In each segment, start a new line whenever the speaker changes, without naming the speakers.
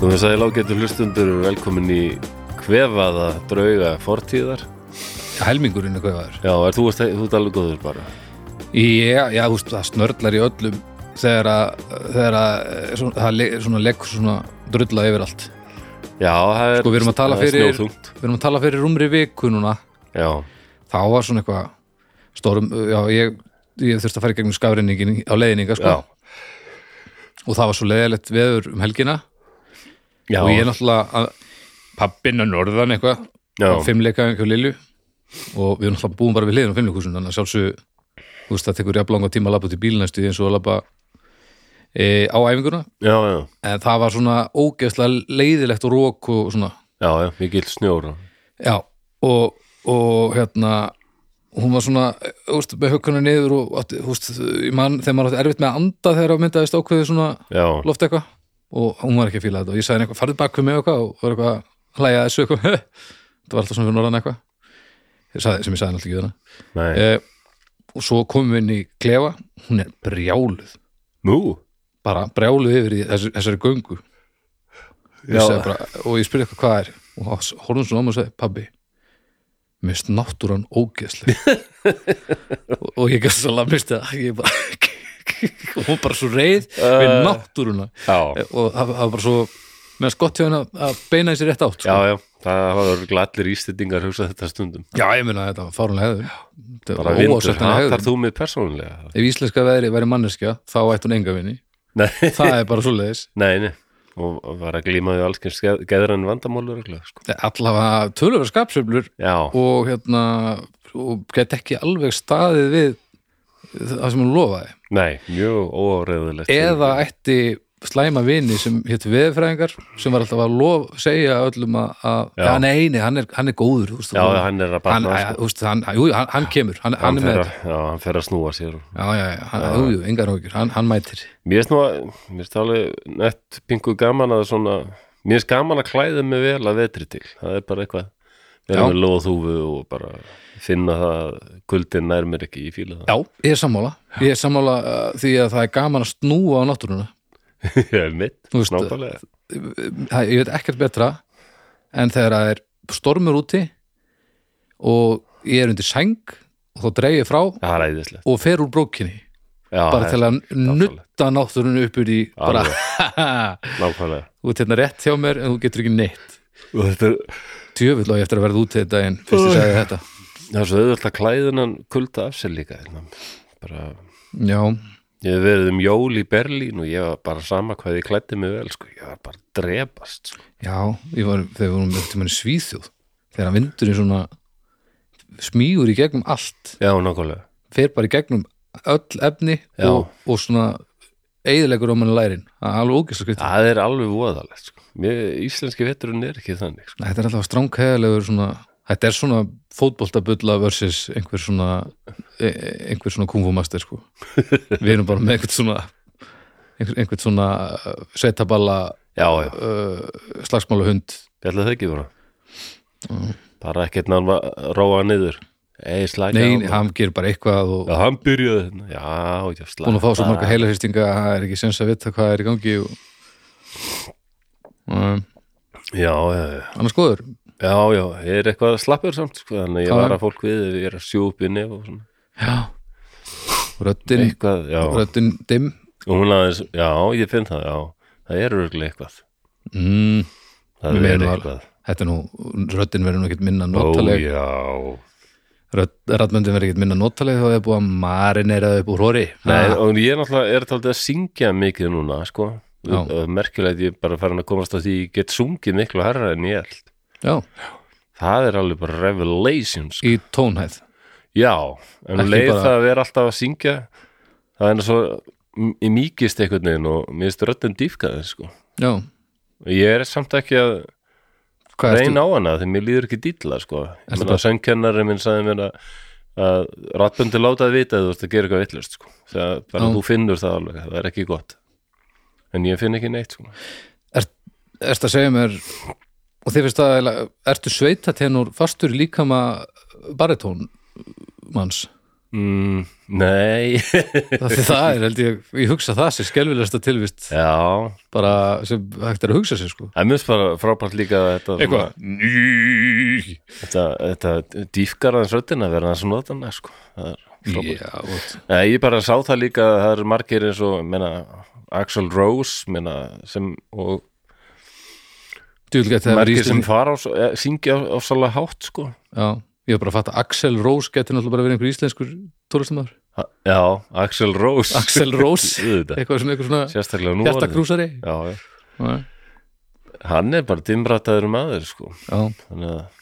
Þú veist að ég lágættu hlustundur velkomin í kvefaða drauga fortíðar
helmingurinn er hvað
Já, er, þú, veist, þú ert alveg góður bara
Já, já, þú veist, það snörlar í öllum þegar að, þegar að eh, svona, það le, svona leggur svona drulla yfir allt.
Já, það er
Sko, við erum að tala
það er
fyrir-
snjóþungt.
Við erum að tala fyrir rúmri viku núna,
Já,
þá var svona eitthvað stórum, já, ég, ég þurfti að fara í gegnum skafrinningin á leiðninga, sko.
Já.
Og það var svo leiðilegt veður um helgina
já,
og ég náttúrulega að pappinn að norðan eitthvað,
já,
fimmleika hjá Lilju og við erum náttúrulega búum bara við hliðin á fimmleikusun, þannig að sjálfsög, þú veist, það tekur jafnlanga tíma að labba út í bílnæstu eins og að labba e, á æfinguna.
já, já,
en það var svona ógeðslega leiðilegt og rók og svona
já, já, mikill snjór
já, og, og hérna hún var svona úst, með hökkuna niður og átti, úst, man, þegar maður átti erfitt með að anda þegar að myndaðist ákveðið svona
Já,
loft eitthvað og hún var ekki að fíla þetta og ég sagði henni eitthvað, farðu bak við mig og eitthvað og var eitthvað að hlæja að þessu eitthvað þetta var alltaf svona fyrir norðan eitthvað Ég sagði, sem ég sagði henni alltaf ekki þarna
nei,
e, og svo komum við inn í klefa hún er brjáluð,
nú
bara brjáluð yfir í þessari, þessari göngu Ég
Já,
sagði bara, og ég spurði eitthvað hvað er og hann horfði svona á mig og sagði pabbi mist náttúran ógeðsleg og, og ég gæst svolítið að misti það ég bara og hún bara svo reið við
Uh.
náttúruna
já,
Eh, og það það var bara svo meðan skott hjá henn að beina þessi rétt átt sko.
já, já, það hafa örugglega allir ístendingar hugsað þetta stundum
já, ég meina að þetta var fárunlega hefður þetta
Bara
var
vindur,
óásættanlega
hattar
hefður
þú mig persónulega?
ef íslenska veðri væri manneskja þá ætti hún enga vinni
Nei,
það er bara svo leiðis
nei, nei og og var að glíma við alls kynst geðrann vandamálur örugglega, sko.
Eh, allavega tölur skapsöflur
Já,
og hérna og get ekki alveg staðið við það sem hún lofaði
nei, mjög óáreðilegt
eða ætti slæma vini sem hétt veðfræðingar sem var alltaf að lof segja öllum að, að
Já.
hann er eini, hann er, hann er góður úst,
Já, hann er að
hann,
batna
hann, úst, hann, jú, jú, hann, hann kemur, hann, hann er
fer
með þetta
að, já, hann fer að snúa sér og-
já, já, já, hann, jú, jú, engar okkur, hann, hann mætir
Mér finnst nú að, mér finnst alveg nett pingu gaman að svona Mér finnst gaman að klæða mig vel að vetri til Það er bara eitthvað Verða
Já.
með loðhúfu og bara finna það að Kuldin nær mér ekki í fíla það
já, ég er sammála, ég er sammála uh, því að það er gaman að snúa á náttúruna
Ég er mitt,
Þú veist,
snápalega
það, ég veit ekkert betra en þegar það er stormur úti og ég er undir sæng og þá dreig ég frá
Það er æðislegt
og fer úr brókinni
já,
bara
það
til
er-
að nutta náttúrunni upp úr í bara,
Nákvæmlega
þú ert hérna rétt hjá mér en þú getur ekki neitt
Og þetta er,
djöfull á ég eftir að verða út þetta en fyrst ég sagði þetta
það er svo auðvöld að klæðunan kulda af sér líka hérna. Bara,
já,
ég hef verið um jól í Berlín og ég var bara sama hvað ég klæddi mig vel sko. Ég var bara að drepast sko.
já, ég var þegar við vorum eftir manni svíþjóð þegar vindurinn svona smýgur í gegnum allt
Já, nákvæmlega
fer bara í gegnum öll efni
Já.
og, og svona eigðilegur á manni lærin það er alveg ógæsla skriti
Það er alveg voðalegt sko. Mér, Íslenski veturinn er ekki þannig sko.
þetta er alltaf stránkæðilegur svona þetta er svona fótboltabulla versus einhver svona e- e- einhver svona kungfumaster sko við erum bara með einhvern svona einhver, einhvern svona uh, sveitaballa
Já, já,
uh, slagsmálahund
ég ætla það ekki bara
Mm.
Bara ekkert náma róa niður Ei, slæka
nei,
á hann
hann gerir bara eitthvað og
Já, hann byrjaði hérna. Já, já, slæka
búin að fá svo marga heilahristinga að það er ekki sens að vita hvað er í gangi og, um,
Já, já, já,
annars góður
já, já, ég er eitthvað slappur samt sko. Þannig að
Já.
ég var að fólk við ef Ég er að sjú upp í nef og svona
já, röddin
Eitthvað, já,
röddin dimm
og hún aðeins Já, ég finn það, já Það er örgulega eitthvað
mm,
Það
Mér
er
var-
eitthvað
þetta er nú, röddin verður nú ekkert minna
Ó,
notaleg
já
Rattmöndin verður ekkert minna notaleg þá hefur búið að marinera það upp úr hóri
Nei,
Ha,
og ég er náttúrulega er taldið að syngja mikið núna, sko
Já.
merkilegt ég er bara farin að komast að því ég get sungið miklu herra en ég held
Já,
það er alveg bara revelations sko.
í tónhæð
já, en
Ekki
um leið
bara-
það að vera alltaf að syngja það er eins og m- ég mýkist einhvern veginn og mér finnst röddin dýfkaði sko.
Já,
og ég er samt ekki að
hvað ertu?
reyna á hana því mér líður ekki dýtla sko. Ég
Ertu
meina, söngkennari minn sagði mér að, að rattböndi látaði vita að þú ert að gera eitthvað villust sko. þegar bara
Já.
þú finnur það alveg það er ekki gott en ég finn ekki neitt sko.
Ert, ert að segja mér og þið finnst það eiginlega- ertu sveitatenur fastur í líkama baritón manns
mm, Nei
það, því það er held ég, ég hugsa það sem skelfilegasta tilvist
Já,
bara sem hægt er að hugsa sér sko
það er mjög bara frábært líka þetta, svona-
eitthvað Ný.
þetta, þetta dýfkar aðeins röddina að vera aðeins nótana sko. það er frábært
já, út.
Nei, ég bara sá það líka að það eru margir eins og meina, Axel Rose meina, sem, og
Djúl geti það
margir
verið
sem
íslenskt
fara á, eh, syngja á, á sálega hátt sko.
já, ég var bara að fatta Axel Rose geti náttúrulega bara verið einhver íslenskur tóristamæður
Ha- Já, Axel Rose
Axel Rose
Auðvitað.
eitthvað sem einhver svona
Sérstaklega nú orðið.
hjertakrúsari
já, já.
já,
Hann er bara dimmrataður maður sko.
já,
Þannig að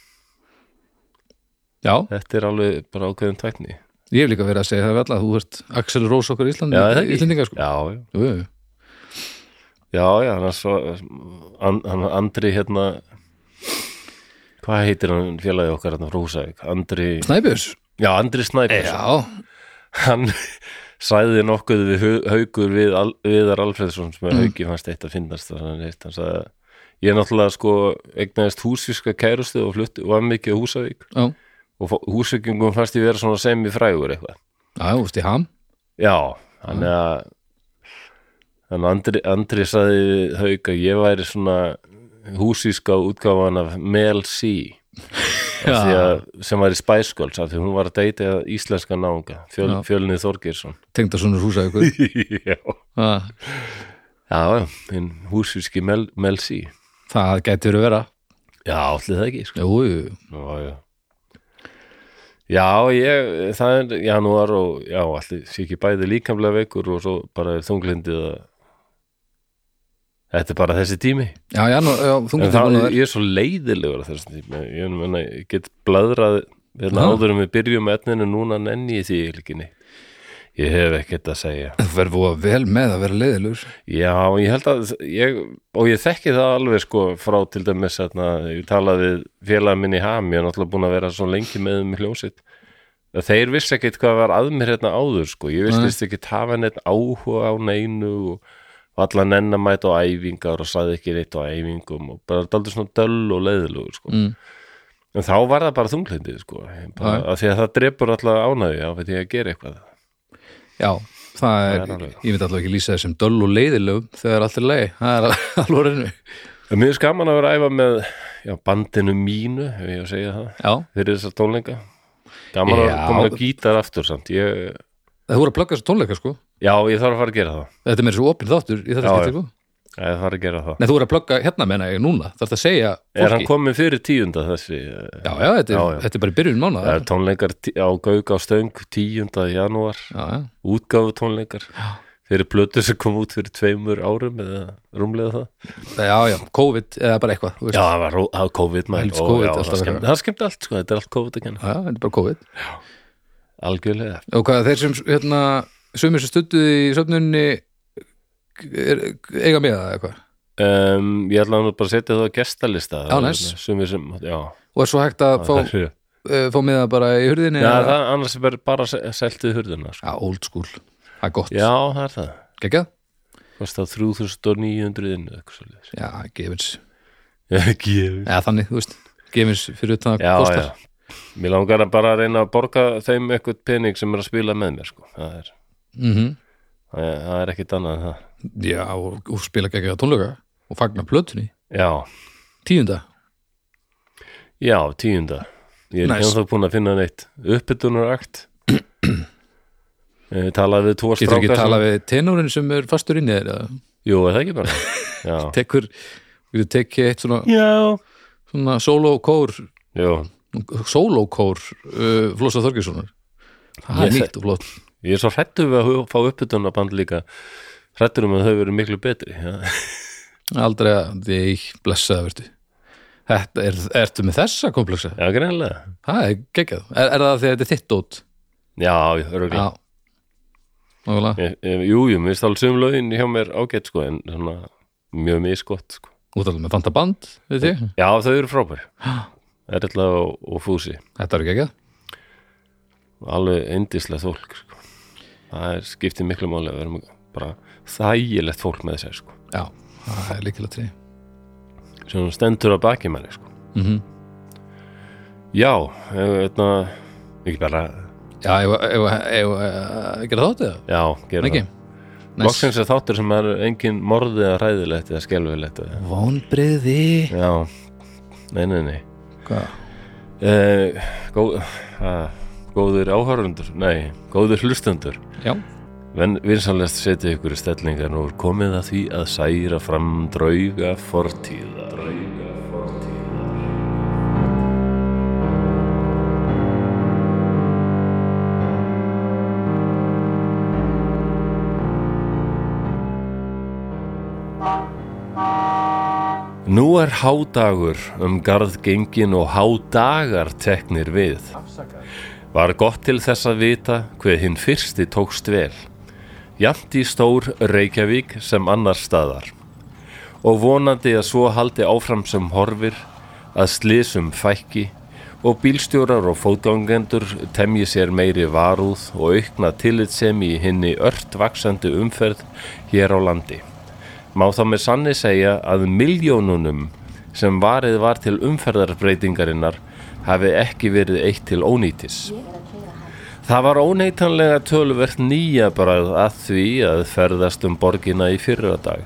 já
þetta er alveg bara ákveðin tækni
Ég hef líka verið að segja það við alla, þú ert Axel Rós okkar Ísland,
Já, er það ekki?
Íslandinga sko.
Já, já,
Jú, jú.
já, já hann er svo an, hann Andri hérna Hvað heitir hann félagi okkar hérna Rósæk? Andri,
Snæbjörns?
já, Andri Snæpers
Já,
hann sæði nokkuð við Hau- haukur við Al, Viðar Alfreðsson sem er
Mm.
hauki fannst eitt að finnast það hann heitt, hann sagði ég náttúrulega sko eignaðist húsvíska kærustu og flutti og var mikið á Húsavík
já,
og fó- húsvíkingum fannst ég vera svona semi frægur eitthvað
já, þú veist í ham
já,
Mm.
hann er að hann Andri, Andri sagði við hauk að ég væri svona húsíska útgáfan af Mel C af því
Já,
að, sem var í Spice Girls af því hún var að deyta íslenska náunga fjöl,
Já.
fjölnið Þorgeirsson
tengda svona húsa ykkur
já
Já,
Já, já, hinn húsvíski Mel, Mel C
Það gæti verið að vera
Já, allir það ekki sko.
Jú, jú,
já, já. já, ég það er janúar og já, allir sé ekki bæði líkamlega veikur og svo bara er þunglindið að Þetta er bara þessi tími
já, já, nú- já þú
En
getur
það,
búin að vera
ég er svo leiðilegur að þessi tími Ég, menna, ég get blöðrað hérna
Já.
áður en við byrjum með etninu núna nenni ég því ekki neitt Ég hef ekkert að segja
Þú verður búið vel með að vera leiðilegur
Já, ég held að ég, og ég þekki það alveg sko frá til dæmis að ég talaði við félag minn í ham, ég er náttúrulega búin að vera svo lengi með um hljómsitt að þeir vissi ekkit hvað var að mér hérna áður sko, ég
Nei.
vissi ekki hafa neitt áhuga á neinu og allan enn að mæta á æfingar og saði ekki neitt á æfingum og bara daldur svona döll og leiðilugur sko
mm.
en þá var það bara þunglindið sko bara,
Já.
að því að það drepur alltaf ánægju á því að gera eitthvað
Já, það er,
Það er alveg.
ég veit allavega ekki lýsa þessum döll og leiðilegum þegar allt er leið Það er alveg reynu
En Mér er skaman að vera að æfa með já, bandinu mínu, ef ég á að segja það
Já,
fyrir þessar tónleika gaman að
Já.
koma að gítar aftur samt ég,
það voru að plugga þessu tónleika sko
já, ég þarf að fara að gera það
Þetta er meira svo opinn þáttur í þetta
Já, já.
skipti sko
ég þarf að fara að gera það
Nei, þú voru að plugga hérna menna ég núna Þarf að segja
er hann
fólki
komin fyrir tíunda þessi eh,
Já, já, þetta er,
Já, já.
Þetta er bara í byrjun
það
mánaða
er tónleikar tí- á Gauk á Stöng tíunda janúar,
já, já.
útgáfu tónleikar fyrir blötu sem kom út fyrir tveimur árum eða rúmlega það
já, já, COVID eða bara eitthvað þú
já,
veist.
það var ró- það var COVID, maður.
Helst
Ó,
COVID,
já,
alltaf
það,
að
skemmt,
vera.
það skemmt allt, sko, þetta er allt COVID að kenna
já, þetta er bara COVID
algjörlega,
og hvað þeir sem hérna, sumir sem stuttuði í söfnunni er, eiga með það eitthvað
um, ég ætla nú bara að setja það á gestalista
Já, næs.
sem, sem, já,
og er svo hægt að fá,
það er-
eh, fá með það bara í hurðinni
Já,
eða-
það, annars er bara- bara seltið hurðuna sko.
já, old school, það er gott
Já, það er það
ekki?
Kosta 3900 inn eða eitthvað svolítið
já, gefins,
Já,
eða þannig, þú veist gefins fyrir utan að
já,
kostar
já Mér langar að bara reyna að borga þeim eitthvað pening sem er að spila með mér sko. það, er,
mm
það er- það er ekkit annað en það
já, og, og spila ekki að tónleika og fagna plötunni,
Já,
tíunda
já, tíunda Ég er
Næs.
nice. ennþá búin að finna neitt uppbytunarakt Talaði við tvo
getur
stráka
ekki
sem-
tala við tenórin sem er fastur inn í þér eða
Jú, er það ekki bara Já,
tekur, getur tekið eitt svona,
já.
svona solo-kór
Jú,
sólókór uh, Flosa Þorgessonar það er
Ég
nýtt og flott
Ég er svo hrættur við að fá uppbytunarband líka hrættur um að þau verið miklu betri já.
aldrei að ég blessaða vertu Þetta er, ertu með þessa kompleksa?
Já, greinlega.
Það er geggjað. Er, er það því að þetta er þitt dót?
Já, öruglega.
Já. Nákvæmlega.
Ég- ég- Jú, jú, mér stáð sum lögin hjá mér ágætt, sko, en svona mjög misgott, sko.
Útalum með Fanta Band, við þig?
Já, þau eru frábær. Erla og, og Fúsi.
Þetta eru geggjað.
Alveg endislega fólk, sko. Það er skiptið miklu máli að vera bara þægilegt fólk með þessar, sko.
Já, það er líkilega trí.
Sem stendur að baki
Mhm.
manni, sko.
Mm
Já, hérna, ekki bara
já, ef að gera þáttið það,
Já, gera
ekki
það Loksins er þáttur sem er engin morðið að ræðilegt eða skelfilegt eða-
vonbriði
Já, nei, nei, nei
hvað,
uh, góð, uh, Góður áhörundur, nei, góður hlustundur
já,
Vinsanlegt setja ykkur í stellingar og komið að því að særa fram drauga fortíðar Drauga fortíðar Nú er hádagur um garðgengin og hádagar teknir við. Var gott til þess að vita hver hinn fyrsti tókst vel. Jant í stór Reykjavík sem annar staðar. Og vonandi að svo haldi áfram sem horfir, að slísum fækki og bílstjórar og fótgangendur temji sér meiri varúð og aukna tillitsemi í hinni ört vaksandi umferð hér á landi má þá með sanni segja að miljónunum sem varið var til umferðarbreytingarinnar hafi ekki verið eitt til ónýtis. Það var óneitanlega töluvert nýja bræð að því að ferðast um borgina í fyrradag.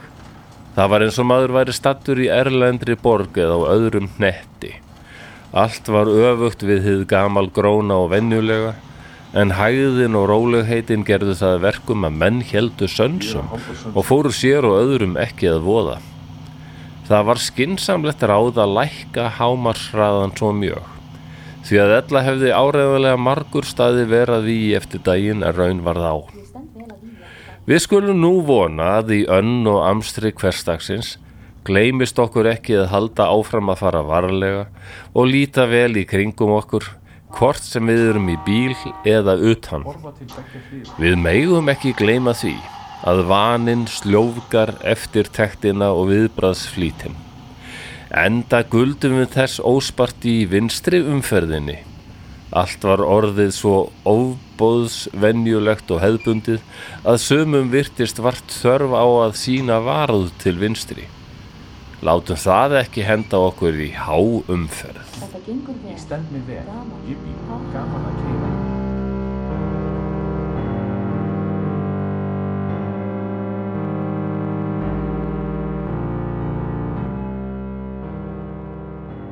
Það var eins og maður væri stattur í erlendri borg eða á öðrum hnetti. Allt var öfugt við hið gamal gróna og vennulega, en hæðin og rólegheitin gerðu það að verkum að menn heldu sönsum og fóru sér og öðrum ekki að voða. Það var skinsamlegt ráð að lækka hámarsraðan svo mjög, því að ella hefði áreðanlega margur staði verað í eftir daginn að raun varð á. Við skulum nú vona að í önn og amstri hverstagsins gleymist okkur ekki að halda áfram að fara varlega og líta vel í kringum okkur hvort sem við erum í bíl eða utan. Við megum ekki gleyma því að vaninn sljófgar eftir tektina og viðbraðsflýtin. Enda guldum við þess óspart í vinstri umferðinni. Allt var orðið svo ofbóðsvenjulegt og hefðbundið að sömum virtist vart þörf á að sína varð til vinstri. Látum það ekki henda okkur í háumferð.
Þetta gengur vel.
stend mig vel.
Gaman.
Jippi, gaman að keyra.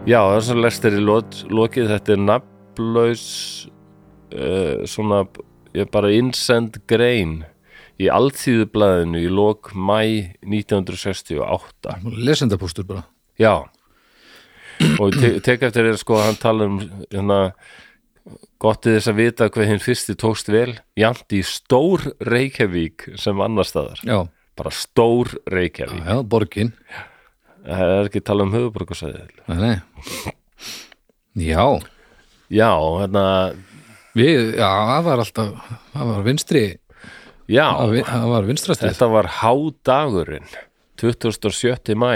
Já, það er svona lestir í lot, lokið, þetta er nafnlaus, uh, svona, ég er bara innsend grein í alltíðublaðinu í lok mæ 1968.
lesendapústur bara
Já og te tek eftir er sko að hann tala um hérna gott til þess að vita hvað hinn fyrsti tókst vel jant í stór Reykjavík sem annar staðar,
já,
bara stór
já,
Reykjavík
já, borgin
það er ekki að tala um höfuborgarsæðil
nei, nei. já,
já, hérna,
við, já, það var alltaf það var vinstri
já
það var- það var vinstrastrið
þetta var hádagurinn 27. mæ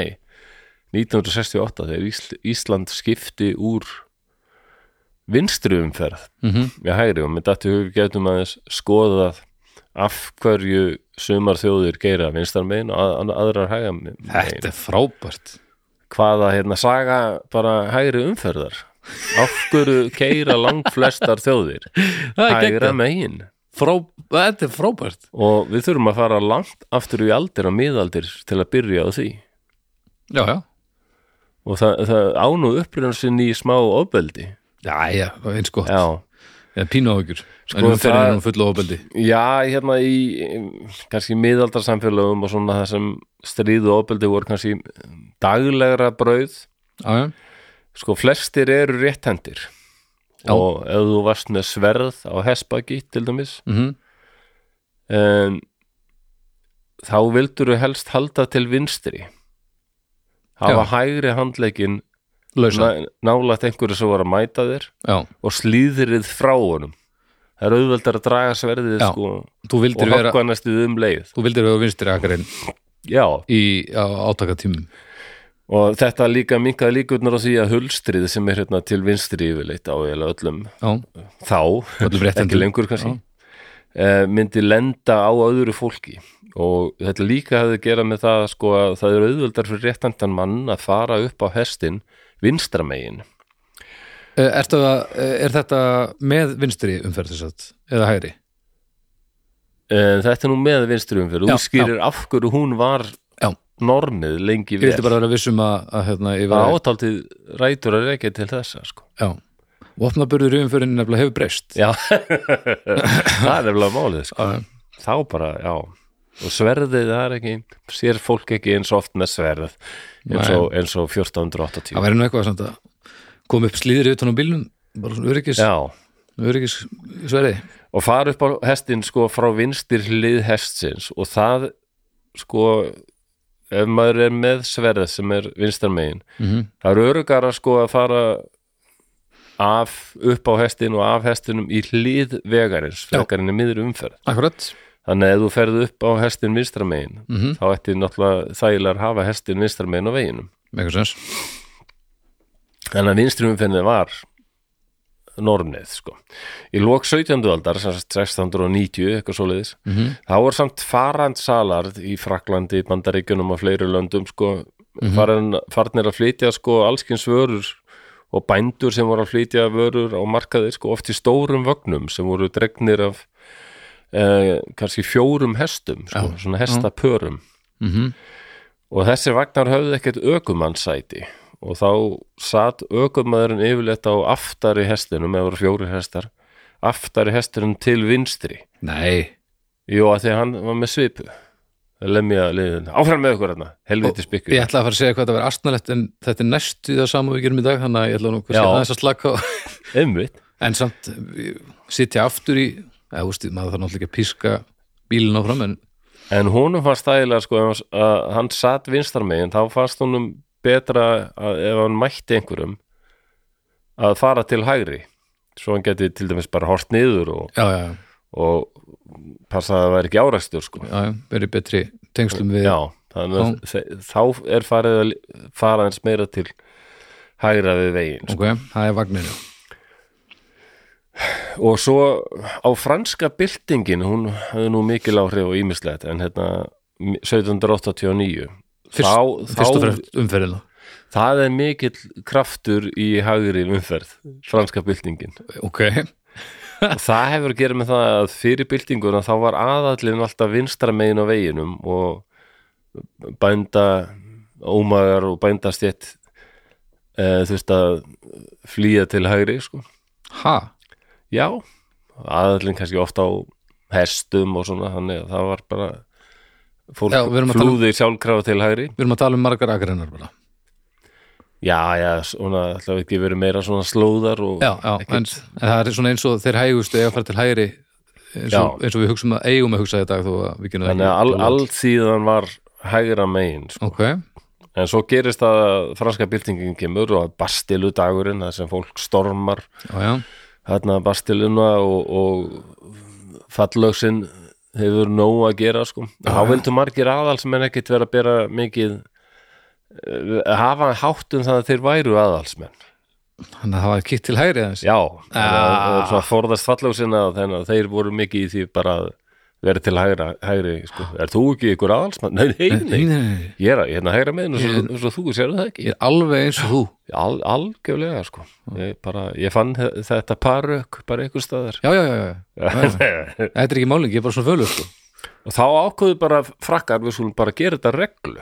1968 þegar Ísl Ísland skipti úr vinstri umferð
mm
með hægri og með dættu hug getum aðeins skoðað af hverju sumar þjóðir geira vinstar megin og að, að- aðrar hægra megin
þetta er frábært
hvaða hérna saga bara hægri umferðar af hverju keira langflestar þjóðir
það er
hægra
geggjað.
megin
Frá, þetta er frábært
og við þurfum að fara langt aftur í aldir og miðaldir til að byrja á því
já, já,
og það, það án og upprýðan sinni í smá ofbeldi
já, já, eins gott
já,
eða pínu áhugjur
Sko,
en umferðin
það-
er nú fulla ofbeldi
Já, hérna í eh, kannski miðaldarsamfélögum og svona það sem stríðu og opildi voru kannski daglegra brauð
já, já,
sko flestir eru rétthendir
Já.
og ef þú varst með sverð á hespagi til dæmis
mm
um, þá vildur þú helst halda til vinstri hafa
Já.
hægri handleikin
lausa
nálægt einhverju sem var að mæta þér
já,
og slíðrið frá honum það er auðveldar að draga sverðið
Já.
sko
þú vildir
og
vera
höggva næstuð um leið
þú vildir vera vinstri akarinn
Já,
í á, átakatímum
og þetta líka minkaði líkurnar á því að hulstrið sem er hérna til vinstri yfirleitt á eiginlega öllum
já,
þá,
öllum
ekki
réttendum
lengur kannski eh, myndi lenda á öðru fólki og þetta líka hefði að gera með það sko að það er auðvöldar fyrir réttandan mann að fara upp á hestin vinstramegin
E, er, er þetta með vinstri umferð þess að eða hægri
en Eh, þetta er nú með vinstri umferð
Já,
útskýrir af hverju hún var
Já.
normið lengi
ég
vel
vildi bara vera vissum að, að hérna, ég var
það átaldið rætur að rekja til þessa sko.
já, vopnaburður umfyrin nefnilega hefur breyst
já það er nefnilega málið sko.
Já, já.
þá bara, já og sverðið það er ekki, sér fólk ekki eins oft með sverð eins og, eins og 1480
það væri nú eitthvað samt að koma upp slíðri utan á bílnum bara svona öryggis,
já
öryggis sverði
og fara upp á hestin sko frá vinstir hlið hestsins og það sko ef maður er með sverð sem er vinstar megin,
Mhm.
það eru örugara sko að fara af upp á hestin og af hestinum í hlið vegarins,
Já.
vegarinn er miður umferð
akkurat,
þannig að ef þú ferð upp á hestin vinstra megin,
Mhm.
þá ætti náttúrulega þægilega að hafa hestin vinstra megin á veginum
með eitthvað sens
þannig að vinstri umferðin var normið sko í lok 17. aldar, sem sagt 1690 eitthvað svoleiðis,
Mhm.
þá er samt farand salar í Fraklandi, Bandaríkjunum og fleiri löndum sko farin, farnir að flytja sko allskins vörur og bændur sem voru að flytja vörur á markaði sko oft í stórum vögnum sem voru dregnir af eh, kannski fjórum hestum sko, svona hestapörum
Mhm.
og þessir vagnar höfðu ekkert ökumannsæti og þá satt ökumæðurinn yfirleitt á aftari hestinum eða voru fjóri hestar aftari hestinum til vinstri
nei,
jú að því að hann var með svipu lemja liðin, áfram með okkur hérna helviti spikku
ég ætla að fara að segja hvað það var astnalett en þetta er næstu það saman við gerum í dag þannig að ég ætla nú kannski
Já.
aðeins að slaka á
einmitt,
en samt ég- sitja aftur í eða úst, maður þarf náttúrulega ekki að píska bílinn áfram en
en honum fannst stæðilega sko ef hann- að hann satt vinstar megin þá fannst honum betra að, ef hann mætti einhverjum að fara til hægri svo hann geti til dæmis bara hort niður og,
já, já, já,
og passa að það væri ekki árækstur sko
já, verið betri tengslum við
Já, þannig að þe- þá er farið að li- fara eins meira til hægra við veginn.
ok, það er vagninu
Og svo á franska byltingin, hún hefði nú mikil áhrif og ímislegt, en hérna 1789,
Fyrst-
þá,
fyrst og
þá
fremst umferðina
það er mikill kraftur í hægri umferð, franska byltingin.
ok,
Og það hefur að gera með það að fyrir byltinguna þá var aðallin alltaf vinstra megin á veginum og bænda ómagar og bændastjett e, þú veist að flýja til hægri sko.
ha
Já, aðallin kannski ofta á hestum og svona þannig að það var bara fólk
Já, við erum að tala um-
flúði sjálfkrafa til hægri
við erum að tala um margar agreinar bara
Já, já, svona ætlaðu ekki verið meira svona slóðar og
já, já, en, en það er svona eins og þeir hægustu eiga að fara til hægri eins og,
Já.
eins og við hugsum að eigum að hugsa í dag þó að við genum
þannig að all, allsíðan var hægra megin sko.
ok,
En svo gerist það að franska byltingin kemur og að bastilu dagurinn, það sem fólk stormar
já, já,
þarna bastiluna og, og fallöksin hefur nóg að gera sko. Þá vildu margir aðal sem en ekkit vera að bera mikið eh, hafa hátt um það að þeir væru aðalsmenn
þannig að það var kitt til hægri aðeins
já, þannig að
Ah.
það er svona forðast fallöksina þannig að þeir voru mikið í því bara að vera til hægra, hægri sko. er þú ekki ykkur aðalsmenn? Nei, nei, nei,
Nei, nei, nei,
ég er að- hérna hægra megin og svo, svo þú sérðu það ekki
ég er alveg eins og þú
Al, algjörlega sko ég, bara, ég fann þe- þetta parök bara einhver staðar
já, já, já, já,
og
þetta er ekki máling, ég er bara svona fölur sko.
þá ákveðu bara frakkar við skulum bara gera þetta að reglu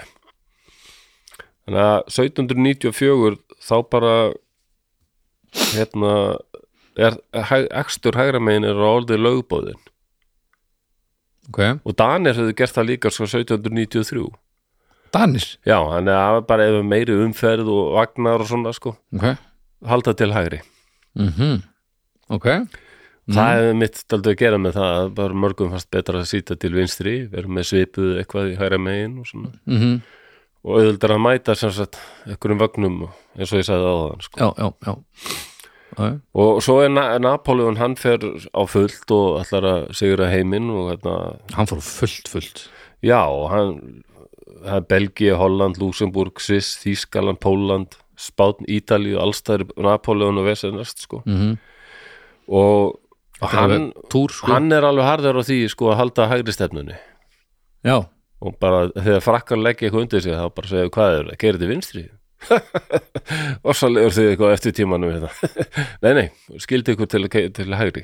þannig að 1794 þá bara hérna er hæg, ekstur hægra megin er orðið lögbóðin
ok,
og Danir hefðu gert það líka sko, svo 1793
Danir
já, þannig að það var bara ef meiri umferð og vagnar og svona sko
ok,
halda til hægri
mhm ok, Mhm.
Það hefði mitt aldrei að gera með það að bara mörgum fannst betra að sýta til vinstri vera með svipuð eitthvað í hæra megin og svona
mhm
og auðvöldar að mæta sem sagt einhverjum vagnum eins og ég sagði áðan sko.
já, já, já Já, já.
og svo er Na Napoleon hann fer á fullt og ætlar að sigra heiminn og hérna,
hann fór á fullt, fullt
já og hann það er Belgía, Holland, Luxemburg Sviss, Þískaland, Póland Spátn, Ítalíu, allstæður Napoleon og Vesenast sko
mm -hmm.
og hann,
túr, sko
hann er alveg harður á því sko að halda hægri stefnunni
já,
og bara þegar frakkar leggja eitthvað undir sig þá bara segja hvað er það, gerir þetta í vinstri Orsalegur þið eitthvað eftir tímanum við þetta. nei, nei, skildi ykkur til, til hægri.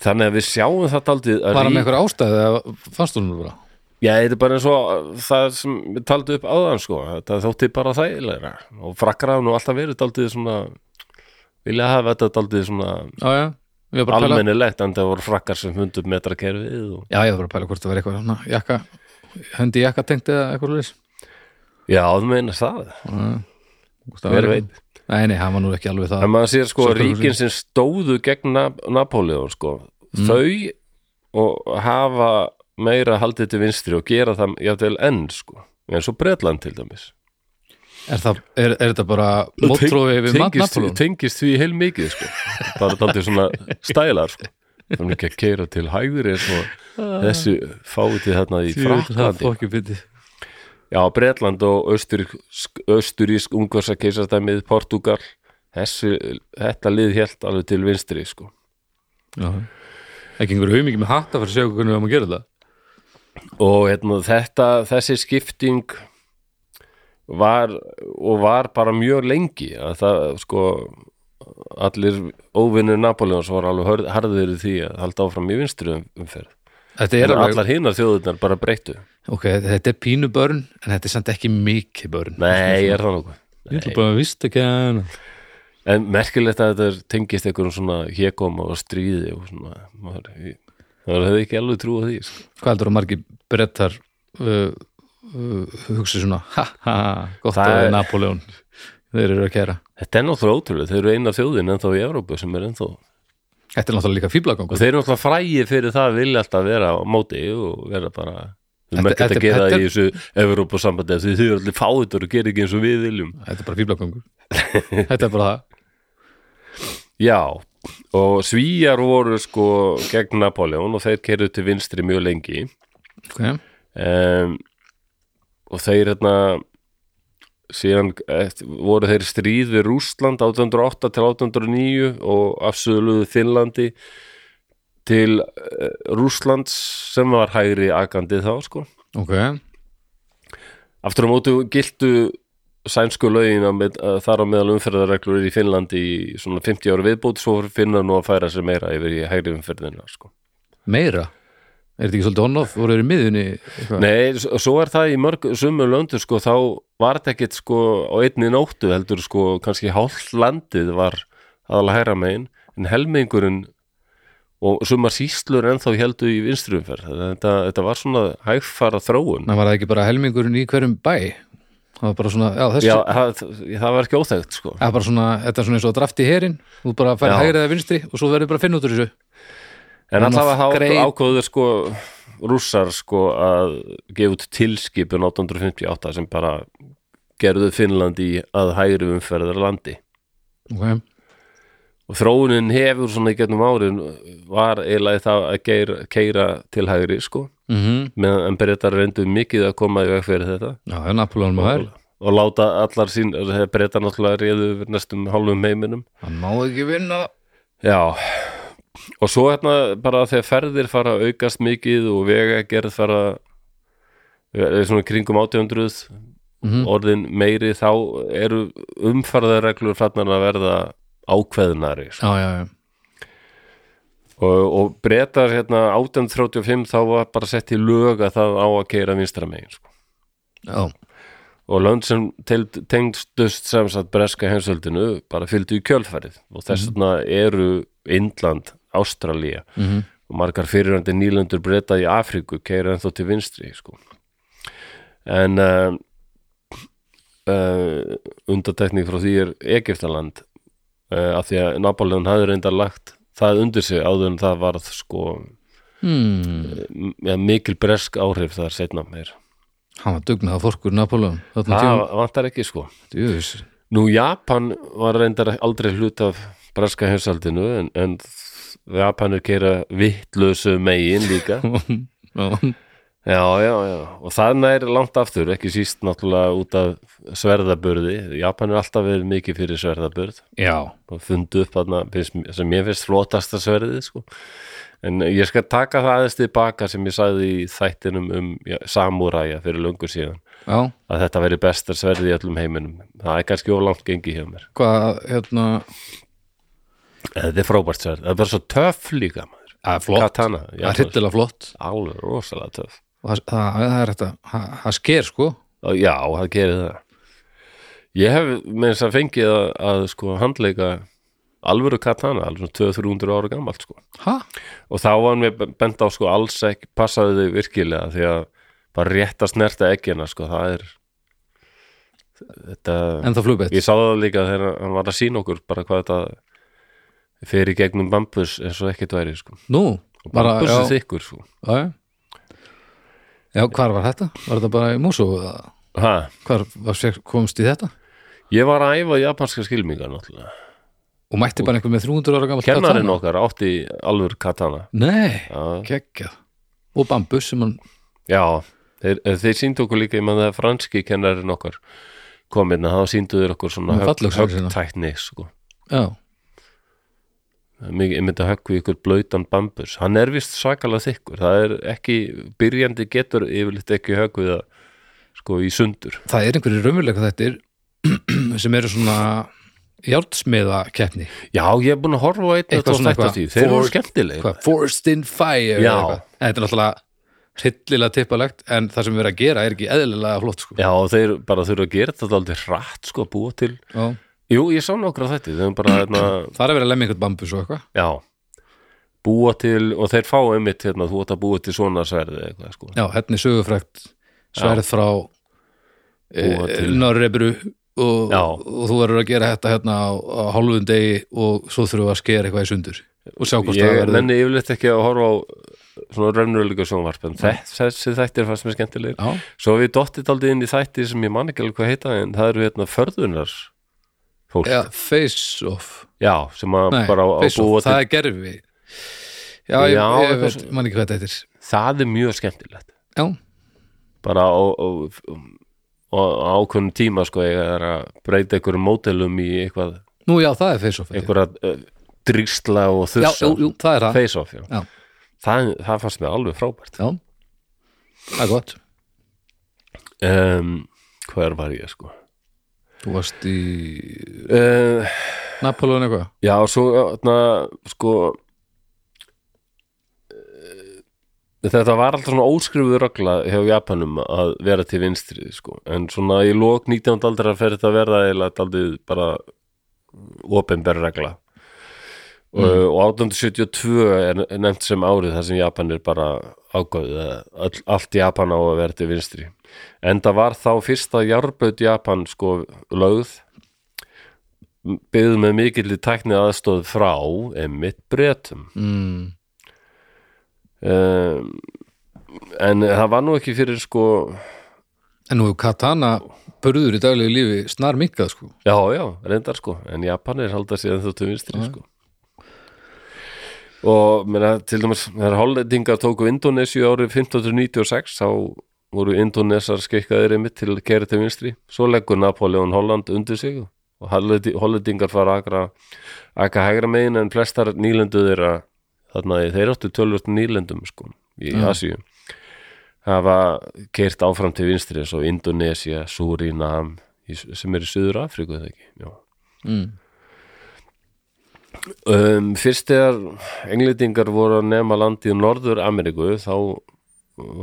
Þannig að við sjáum það aldrei að
Bara
rík-
með einhver ástæði eða fannst hún bara
Já, þetta er bara eins og uh, það sem við taldi upp áðan sko, þetta þótti bara þægilegra og frakkar hafa nú alltaf verið daldið svona vilja hafa þetta daldið svona
Já, já, ég var bara að pæla
almennilegt en það voru frakkar sem hundum metra kerfið og...
Já, ég var bara að pæla hvort það var eitthvað svona jakka, höndi jakka tengt eða eitthvað leys
Já, þú meina það, hver veit
Nei, nei, hann var nú ekki alveg það
En maður sér sko
Svo hverju
ríkin sem stóðu gegn Nap Napoleon sko, þau og hafa meira haldið til vinstri og gera það jafnvel enn sko, eins og Bretland til dæmis
Er, það, er, er þetta bara mótrófi við mann
Tengist-
Napolón?
tengist því heil mikið sko. bara taldið svona stælar sko. þannig ekki að keira til hægri eins og þessu fáið til þarna í Fraklandi
fokkjubiti
já, Bretland og Östurísk, Östurísk ungversa keisarstæmið Portugal þessu, þetta lið hélt alveg til vinstri sko.
Ekki einhver haumingi með hatta fyrir að sjá hvernig við erum að gera það
og hérna, þetta, þessi skipting var og var bara mjög lengi að það sko allir óvinnur Napoleons voru alveg hörð- harðir í því að halda áfram í vinstri um- umferð
Þetta
en
er alveg,
allar hinar þjóðurnar bara breyttu
ok, þetta er pínu börn en þetta er samt ekki mikið börn
nei, er það nokkuð
Ég ætla bara að vista ekki að hana
en merkilegt að þetta er- tengist einhverjum svona hégóma og stríði og svona maður, ég- maður hefði ekki alveg trú á því sko.
Hvað heldur að margir brettar uh, uh, hugsa svona ha, ha, gott
Það
að
er-
er... Napolón þeir eru að kæra
þetta er náttúrulega ótrúlega, þeir eru eina þjóðin ennþá í Evrópu sem er ennþá
Þetta er náttúrulega líka
og
fíblagangur
þeir eru alltaf frægir fyrir það að vilja alltaf vera á móti og vera bara við erum
Þetta-
ekkert að
þetta-
gera
þetta
það í
er-
þessu Evrópusambandi af því þau eru allir fáður og gera ekki eins og við viljum
Þetta er bara fíblagangur Þetta er bara það
já, og svíjar voru sko gegn Napoleon og þeir kerðu til vinstri mjög lengi
okay.
um, og þeir hérna síðan eftir, voru þeir í stríð við Rússland 1808 til 1809 og afsöluðu Finnlandi til uh, Rússlands sem var hægri agandi þá sko
ok,
Aftur á mótu giltu sænsku lögin á með, að þar á meðal umferðarreglur í Finnlandi í svona 50 ára viðbót svo finna nú að færa sér meira yfir í hægri umferðina sko.
meira Er þetta ekki svolítið on-off? Voru þeir í miðunni? eitthvað?
Nei, s- svo er það í mörg sumu löndu sko, þá var þetta ekkit sko á einni nóttu heldur sko kannski hálft landið var aðalega hægra megin en helmingurinn og sumar síslur ennþá heldu í vinstrumferð þetta, þetta var svona hægfara þróun
Nei, var það ekki bara helmingurinn í hverjum bæ? Það var bara svona, já þessi
Já, það, það var ekki óþægt sko
Það er bara svona, þetta er svona eins og að drafti í herin Þú bara færi
Já.
hægri eða vinstri og svo verður bara að finna út úr þessu
En
Hann
allavega þá
greip-
ákvöðu sko rússar sko að gefa út tilskipun 1858 sem bara gerðu Finnlandi í að hægri umferðar landi
okay.
og þróunin hefur svona í getnum árin var eiginlega það að geira, keira til hægri sko
mm
meðan en breytar reyndu mikið að koma í veg fyrir þetta
Já, það er Napolón maður
og láta allar sín breytar náttúrulega reyðu yfir næstum hálfum heiminum
Hann má ekki vinna
Já og svo hérna bara þegar ferðir fara að aukast mikið og vegagerð fara er svona í kringum 800
Mhm.
orðin meiri þá eru umferðarreglur farnar að verða ákveðnari sko.
Já, já, já
og, og breytar hérna 1835 þá var bara sett í lög að það á að keira vinstra megin sko.
Já,
og lönd sem teild- tengdust sem sagt breska hensöldinu bara fylgdu í kjölfærið og þess vegna eru Indland, Ástralía
Mhm.
og margar fyrirrandi nýlendur breyta í Afríku keira ennþá til vinstri sko. en uh, uh, undatekning frá því er Egiptaland uh, af því að Napoleon hafði reyndar lagt það undir sig áður en það varð sko,
hmm.
m- ja, mikil bresk áhrif þar setna meir
hann var dugnað fórkur Napolón Þarna
það
tíma,
vantar ekki sko
djúðis
Nú, Japan var reyndar aldrei hlut af braska hefsaldinu en, en Japanir gera vittlösu megin líka
Já,
Já, já, já, og það nær langt aftur, ekki síst náttúrulega út af sverðaburði, Japan er alltaf verið mikið fyrir sverðaburð
Já,
og fundu upp þarna finnst- sem ég finnst flotasta sverðið sko. en ég skal taka það aðeins tilbaka sem ég sagði í þættinum um ja, samúræja fyrir löngu síðan
já,
að þetta veri besta sverðið í öllum heiminum það er kannski ólangt gengið hjá mér
hvað, hérna
En þetta er frábært sverð, það er bara svo töff líka maður.
Það er flott,
katana,
það er hryllilega flott
alveg rosalega töff
og það, það, það er þetta, það, það sker sko
Og já, það gerir það ég hef með þess að fengið að, að sko handleika alvöru katana, alveg svona 200-300 ára gamalt sko
Hæ?
og þá var mér bent á sko alls ekki passaði þau virkilega því að bara rétt að snerta ekkina sko það er þetta,
En það flugbeitt
ég sá það líka þegar hann var að sína okkur bara hvað þetta fer í gegnum bambus eins og ekkert væri sko
Nú,
og
bara,
bambus er
já,
þykkur sko
já Já, hvar var þetta? Var þetta bara í Mosó eða
ha,
hvar var, fékk- komst í þetta?
ég var að æfa japanska skilmingar náttúrulega,
Og mætti bara einhver með 300 ára gamalt
kennarinn okkar átti alvör katana
Nei,
Já.
geggjað Og bambus sem hann
Já, þeir, eh, þeir síndu okkur líka ég mann það franski kennarinn okkar komin að þá síndu þeir okkur svona
Með fallöxina sína.
högtækni sko.
Já,
Mikið- ég myndi að höggvi ykkur blautan bambus hann er vist svakalega þykkur það er ekki, byrjandi getur yfirleitt ekki höggvið það sko í sundur
það er einhverju raunveruleika þættir sem eru svona járnsmiða keppni
já, ég er búin að horfa á einn
Eitthvað
þetta og
svona
þetta
eitthvað.
því, þeir
For-
eru skemmtilegir
Hvað, Forced in Fire
Já.
eða eitthvað. En þetta er náttúrulega hryllilega tippalegt en það sem við erum að gera er ekki eðlilega flott sko.
já, og þeir bara þurfa að gera þetta aldrei hratt sko, búa til
Já.
jú, ég sá nokkra þetta, þeir eru bara hérna,
það er að vera að lemja einhvern bambus og eitthvað
Já búa til, og þeir fá einmitt hérna, þú átt að búa til svona sverði eða eitthvað sko.
Já, hérna er sögufrækt sverð frá
Búa
e,
til.
Norrebru og,
Já.
og þú verður að gera þetta hérna á, á hálfum degi og svo þurfum við að skera eitthvað í sundur og sjá hvort það
ég
verður
menni yfirleitt ekki að horfa á svona raunveruleika sjónvarp en þess, þessi þættir fannst mér skemmtilegir
Já,
svo við dottið aldrei inn í þættir sem ég man ekki alveg hvað heita en það eru hérna förðunar fólk,
Já, face off
Já, sem að
Nei,
bara á,
face
búa
off,
til
það er gerfi Já, ég,
Já,
ég
eitthvað
veit,
svo-
man ekki hvað þetta heitir
það er mjög skemmtilegt
Já,
bara á, á, á, á ákveðnum tíma sko, ég er að breyta einhverjum mótelum í eitthvað,
nú já, það er face off held ég.
einhverja uh, drýsla og
Já,
þursa
jú, jú, það er það
face off, já,
Já.
Það, það fannst mér alveg frábært
Já, það er gott
um, hver var ég sko
Þú varst í
uh,
Napoleon eitthvað
já og svo na, sko eh, þetta var alltaf svona óskrifuð regla hjá Japanum að vera til vinstri sko, en svona í lok 19. aldra fer þetta að verða eða aldrei bara opinber regla og, og 1872 er er nefnt sem árið þar sem Japan er bara ágöfið að all, allt Japan á að vera til vinstri en það var þá fyrsta járbaut Japan sko lögð byggð með mikill í tækni aðstóð frá emmitt bretum
mm,
um, en það var nú ekki fyrir sko
En nú er katana burður í daglegu lífi snar minkað sko
Já, já, reyndar sko en Japanir halda sér ennþá til vinstri sko og meina, til dæmis, þegar hollendingar tóku Indonésiu árið 1596 þá voru Indonesar skeikkaðir einmitt til að gera til vinstri svo leggur Napoleon Holland undir sig og Hollendi- hollendingar fara akra akka hægra megin en flestar nýlendu þeirra þarna þeir áttu tölvöld nýlendum sko í
Já.
Asíu hafa keirt áfram til vinstri eins og Indonesia, Surinam í- sem er í Suður Afríku eða ekki já.
mm.
um, fyrst þegar englendingar voru að nema landið í Norður Ameríku þá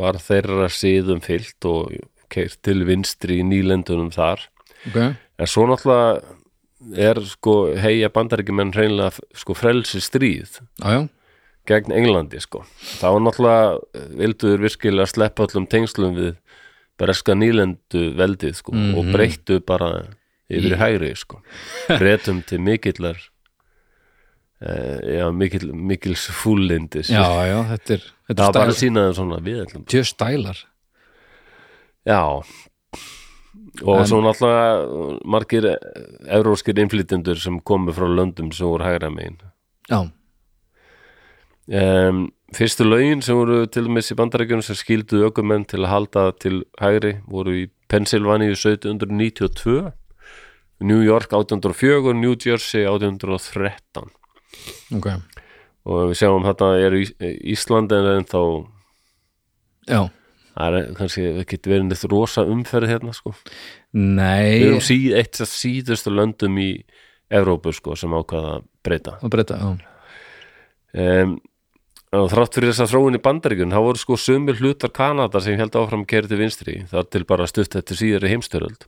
var þeirra síðum fyllt og keirt til vinstri í nýlendunum þar
Ok,
en svo náttúrulega er sko heia bandaríkjumenn hreinlega sko frelsi stríð
já, já,
gegn Englandi sko þá náttúrulega vilduður virkilega sleppa öllum tengslum við breska nýlendu veldið sko
Mhm.
og breyttu bara yfir í
Í-
hægri sko breytum til mikillar uh, já, mikil, mikils fúllindis
já, já Þetta er, þetta
það var
er
bara að
stælar,
sína þeim svona við ætlum
tjö stælar
já og
En-
svo náttúrulega margir eh, evróskir innflytendur sem komu frá löndum sem voru hægra megin
Já,
um, fyrstu lögin sem voru til dæmis í bandarækjunum sem skildu ökumenn til að halda til hægri voru í Pennsylvania 1792 New York 1804 New Jersey 1813
ok,
og við sjáum hérna er Ís- Ísland en ennþá
já
það er kannski ekki verið neitt rosa umferð hérna sko við
nei,
erum sí, eitt af síðustu löndum í Evrópu sko sem ákvaða að breyta
það breyta já,
um, og þrátt fyrir þess að þróun í bandaríkun þá voru sko sumir hlutar Kanada sem held áfram kerið til vinstri þar til bara stutt eftir síðari heimstöröld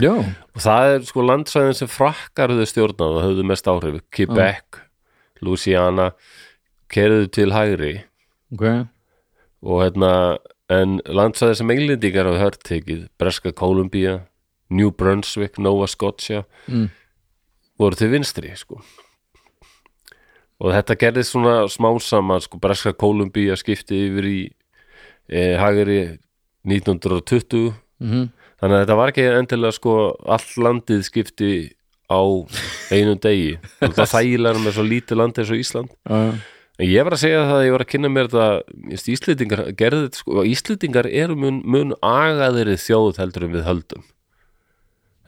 já,
og það er sko landsæðin sem frakkar höfðu stjórnað og höfðu mest áhrif Quebec, Louisiana kerðu til hægri
ok
og hérna en landsæði sem englendingar hafa hört tekið Breska Kolumbía, New Brunswick Nova Scotia
Mm.
voru til vinstri sko. og þetta gerði svona smá saman, sko, Breska Kolumbía skipti yfir í e, hagari 1920
mm
þannig að þetta var ekki endilega sko allt landið skipti á einum degi og það þægilega með svo lítið landið eins og Ísland
já, já,
En Ég var að segja það að ég var að kynna mér þetta Íslendingar gerði þetta sko Íslendingar eru mun, mun agaðri þjóð heldur en við höldum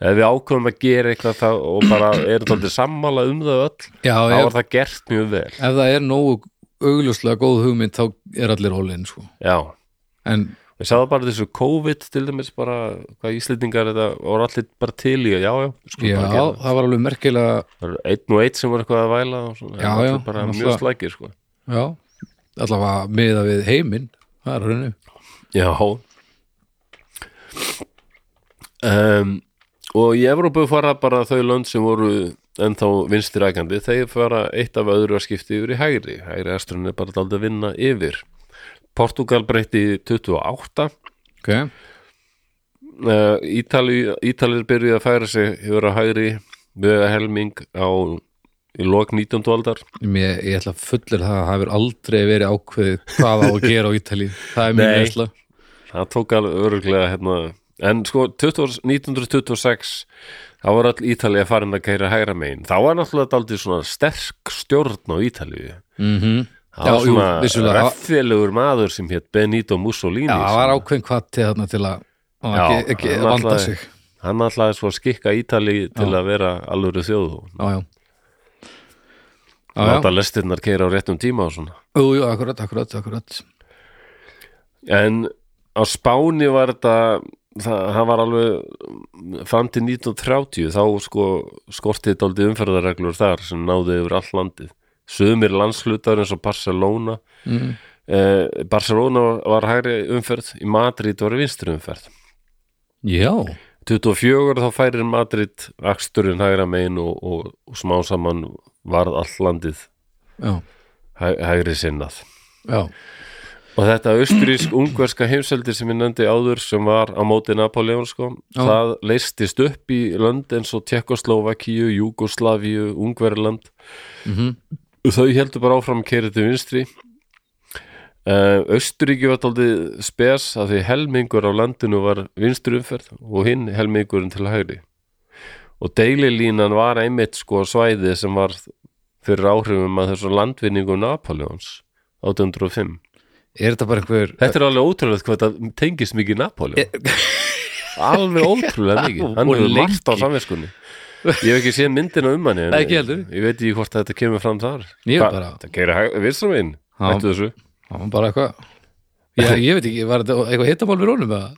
Ef við ákveðum að gera eitthvað það og bara erum þáttið sammála um það öll
já
þá
ef,
var það gert mjög vel
ef það er nógu augljóslega góð hugmynd þá er allir hólinn sko.
Já,
en
við sáðum bara þessu COVID til dæmis bara hvað Íslendingar þetta voru allir bara til í að já, já, sko
já,
bara gera það.
það var alveg merkilega
Það eru einn og einn sem var eitthvað að væla og svona,
Já,
allir
já,
bara mjög
náttúrulega.
slækir sko
já, allavega miða við heiminn það er henni
Já um, Og í Evrópu fara bara þau lönd sem voru ennþá vinstir ægandi þeir fara eitt af öðru að skipta yfir í hægri hægri aðstrunni er bara daldið að vinna yfir Portugal breytti 28
ok,
uh, Ítali, Ítalir byrjuði að færa sig yfir á hægri með helming á í lok 19. aldar
mér, ég ætla að fullir það að það hefur aldrei verið ákveðið hvað á að gera á Ítali það er mín
Nei.
veisla
það tók alveg öruglega hérna en sko 20, 1926 þá var all Ítalía farin að kæra hægra megin þá var náttúrulega daldið svona sterk stjórn á Ítalíu
mm
það
Já,
var
jú,
svona
vissulega.
reffilegur maður sem hétt Benito Mussolini
já, það
sem-
var ákveðin hvað til þarna til að að
Já,
ekki, ekki
hann
vanda
ætlaði-
sig
hann ætlaði svo að skikka Ítalíu til að vera alvöru þjóð og
já, já já, já,
láta lestirnar kæra á réttum tíma og svona
jú, jú, akkurat, akkurat, akkurat
en á Spáni var þetta það, það var alveg fram til 1930 þá sko skortið dálítið umferðarreglur þar sem náði yfir allt landið sömur landslutar eins og Barcelona
mm.
eh, Barcelona var hægri umferð í Madrid var vinstri umferð
já,
24 þá færir Madrid aksturinn hægra megin og, og, og smá saman varð allt landið
já,
hæ, hægri sinnað
já
Og þetta austurísk-ungverska heimseldi sem ég nefndi áður sem var á móti Napoleon sko,
Já.
það leistist upp í lönd eins og Tjekkoslovakíu, Júgoslavíu, Ungverland.
mm -hmm.
Þau heldur bara áfram kerið til vinstri. Uh, Austuríki var taldið spes að því helmingur á landinu var vinstri umferð og hinn helmingurinn til hægri. Og deililínan var einmitt sko svæði sem var fyrir áhrifum að þessu landvinningu Napoleons 1805.
er þetta bara einhver
Þetta er alveg ótrúlega hvað þetta tengist mikið Napoli Alveg ótrúlega mikið Hann
Eh, Og
hefur margt á
lengi.
samviskunni Ég hef ekki séð myndina um hann en
Nei, ekki heldur.
Ég veit ekki hvort þetta kemur fram þar
Ég
Hva-
bara-
Það kæri vinstrum einn
Já.
Þetta þessu
það var bara eitthvað ég, ég veit ekki, var þetta eitthvað hittamál við rónum eða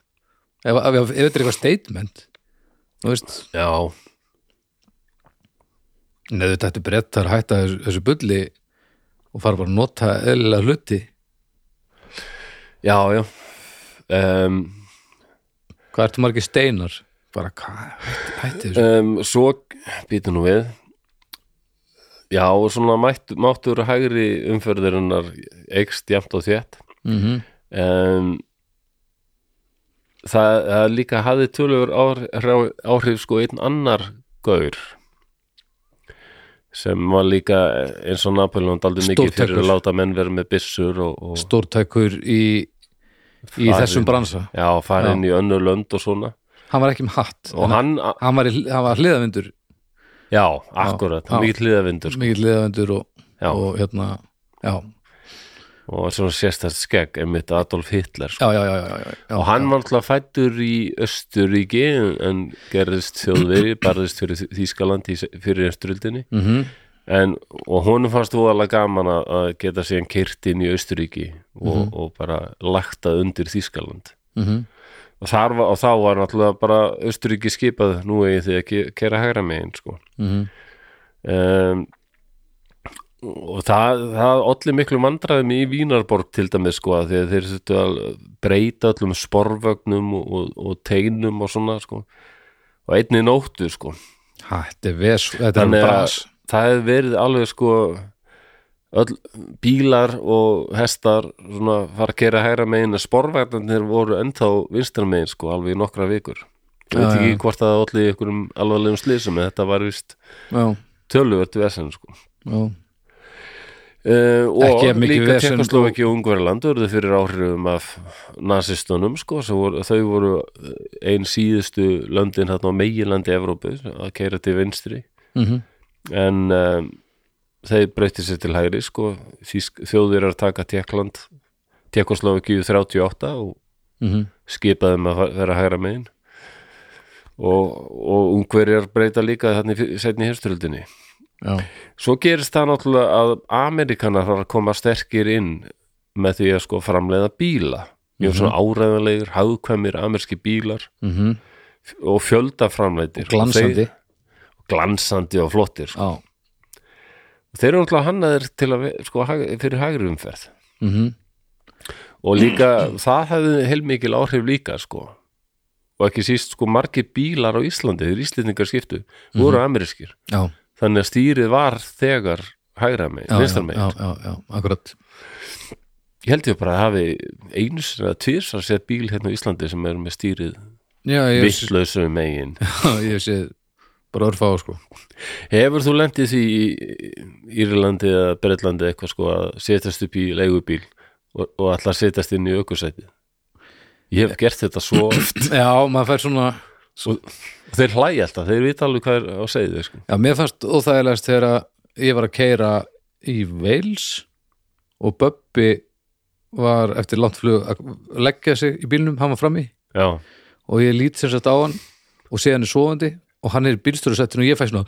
ef, ef, ef, ef þetta er eitthvað statement þú veist
Já,
Nei, þetta er brettar að hætta þessu, þessu bulli og fara bara að nota eðlilega hluti
já, já um,
Hvað ertu margir steinar? Bara hvað, hætti, hætti þessu
um, Svo býtu nú við Já, og svona mætt, máttur hægri umferðirinnar eikst jæmt og þétt
mm
Mhm. um, það, það líka hafði tölur áhrif, áhrif sko einn annar gaur sem var líka eins og Napoleon daldi mikið fyrir
Stórtækur.
að láta menn vera með byssur og, og
Stórtækur í, í
Farinn.
þessum bransa
já, fara inn í önnur lönd og svona
Hann var ekki með hatt
og
en
hann,
hann, var í, hann var hliðavindur
já, akkurat
Já.
mikið hliðavindur sko.
mikill hliðavindur og,
Já.
og hérna já,
og svona sérstætt skegg einmitt Adolf Hitler sko.
já, já, já, já, já, já.
og hann var náttúrulega fættur í Östuríki en- en gerðist þjóðveri barðist fyrir Þýskaland í, se- fyrir Östuríldinni
mm
en, og honum fannst óalega gaman að- að geta síðan kyrt inn í Östuríki og, og bara lagta undir Þýskaland
mhm,
og, þar var, og þá var náttúrulega bara Östuríki skipað nú eigi því að ke- kera hægra megin sko
mhm.
um, og það, það olli miklu mandraðum í Vínarborg til dæmis sko af því að þeir þurftu að breyta öllum sporvögnum og, og, og teinum og svona sko og einni nóttu sko
Ha, þetta er ves, þetta er
Þannig að-
brans
það hefði verið alveg sko öll bílar og hestar svona fara að gera hægra megin að sporvagnarnir voru ennþá vinstra megin sko alveg í nokkra vikur ég veit
Já, já.
ekki hvort það olli ykkur um alvarlegum slýsum en þetta var vist
já,
töluvert vesen sko
já,
Uh, og
Ekki jafn mikið
líka
vesen
Tjekkoslovaki og Ungverjaland urðu fyrir áhrifum af nazistunum sko, sem voru, þau voru eh, ein síðustu löndin þarna á meginlandi Evrópu að keira til vinstri
mm
en um, þeir breytti sér til hægri sko, Þýsk, þjóðverjar taka Tjekkland Tjekkoslovaki 38 og
mhm,
skipaðum að fa- vera hægra megin og, og Ungverjar breyta líka þannig setni hérstöldinni
já,
Svo gerist það náttúrulega að Amerikanar var að koma sterkir inn með því að sko framleiða bíla mjög svona áræðanlegir, hagkvæmir amerski bílar
mm
og fjöldaframleitir
glansandi
og glansandi og flottir sko.
já,
þeir eru náttúrulega hannaðir til að ve- sko, hag- fyrir hægri umferð
mm
og líka það hefði heilmikil áhrif líka sko og ekki síst sko margir bílar á Íslandi þeir Íslendingar skiptu,
Mhm.
voru amerískir
já,
þannig að stýrið var þegar hægra megin,
já, já,
vinstra megin
já, já, já, akkurat
Ég held ég bara að hafi einu sinni að tvisar sett bíl hérna á Íslandi sem er með stýrið
já, ég hef séð-
visslausu megin.
ég hef séð bara örfá, sko
Hefur þú lendið því í Írlandi eða Bretlandi eitthvað sko að setjast upp í leigubíl og, og ætla að setjast inn í aukusætið? Ég hef gert þetta svo oft
já, maður fær svona
og þeir hlæja alltaf, þeir vita alveg hvað er á segið þau sko.
Já, mér fannst óþægilegast þegar að ég var að keira í Wales og Böbbi var eftir langt flug að leggja sig í bílnum, hann var frammi
Já,
og ég lít sem sagt á hann og sé hann er sofandi og hann er í bílstjórusettinu og ég fæ svona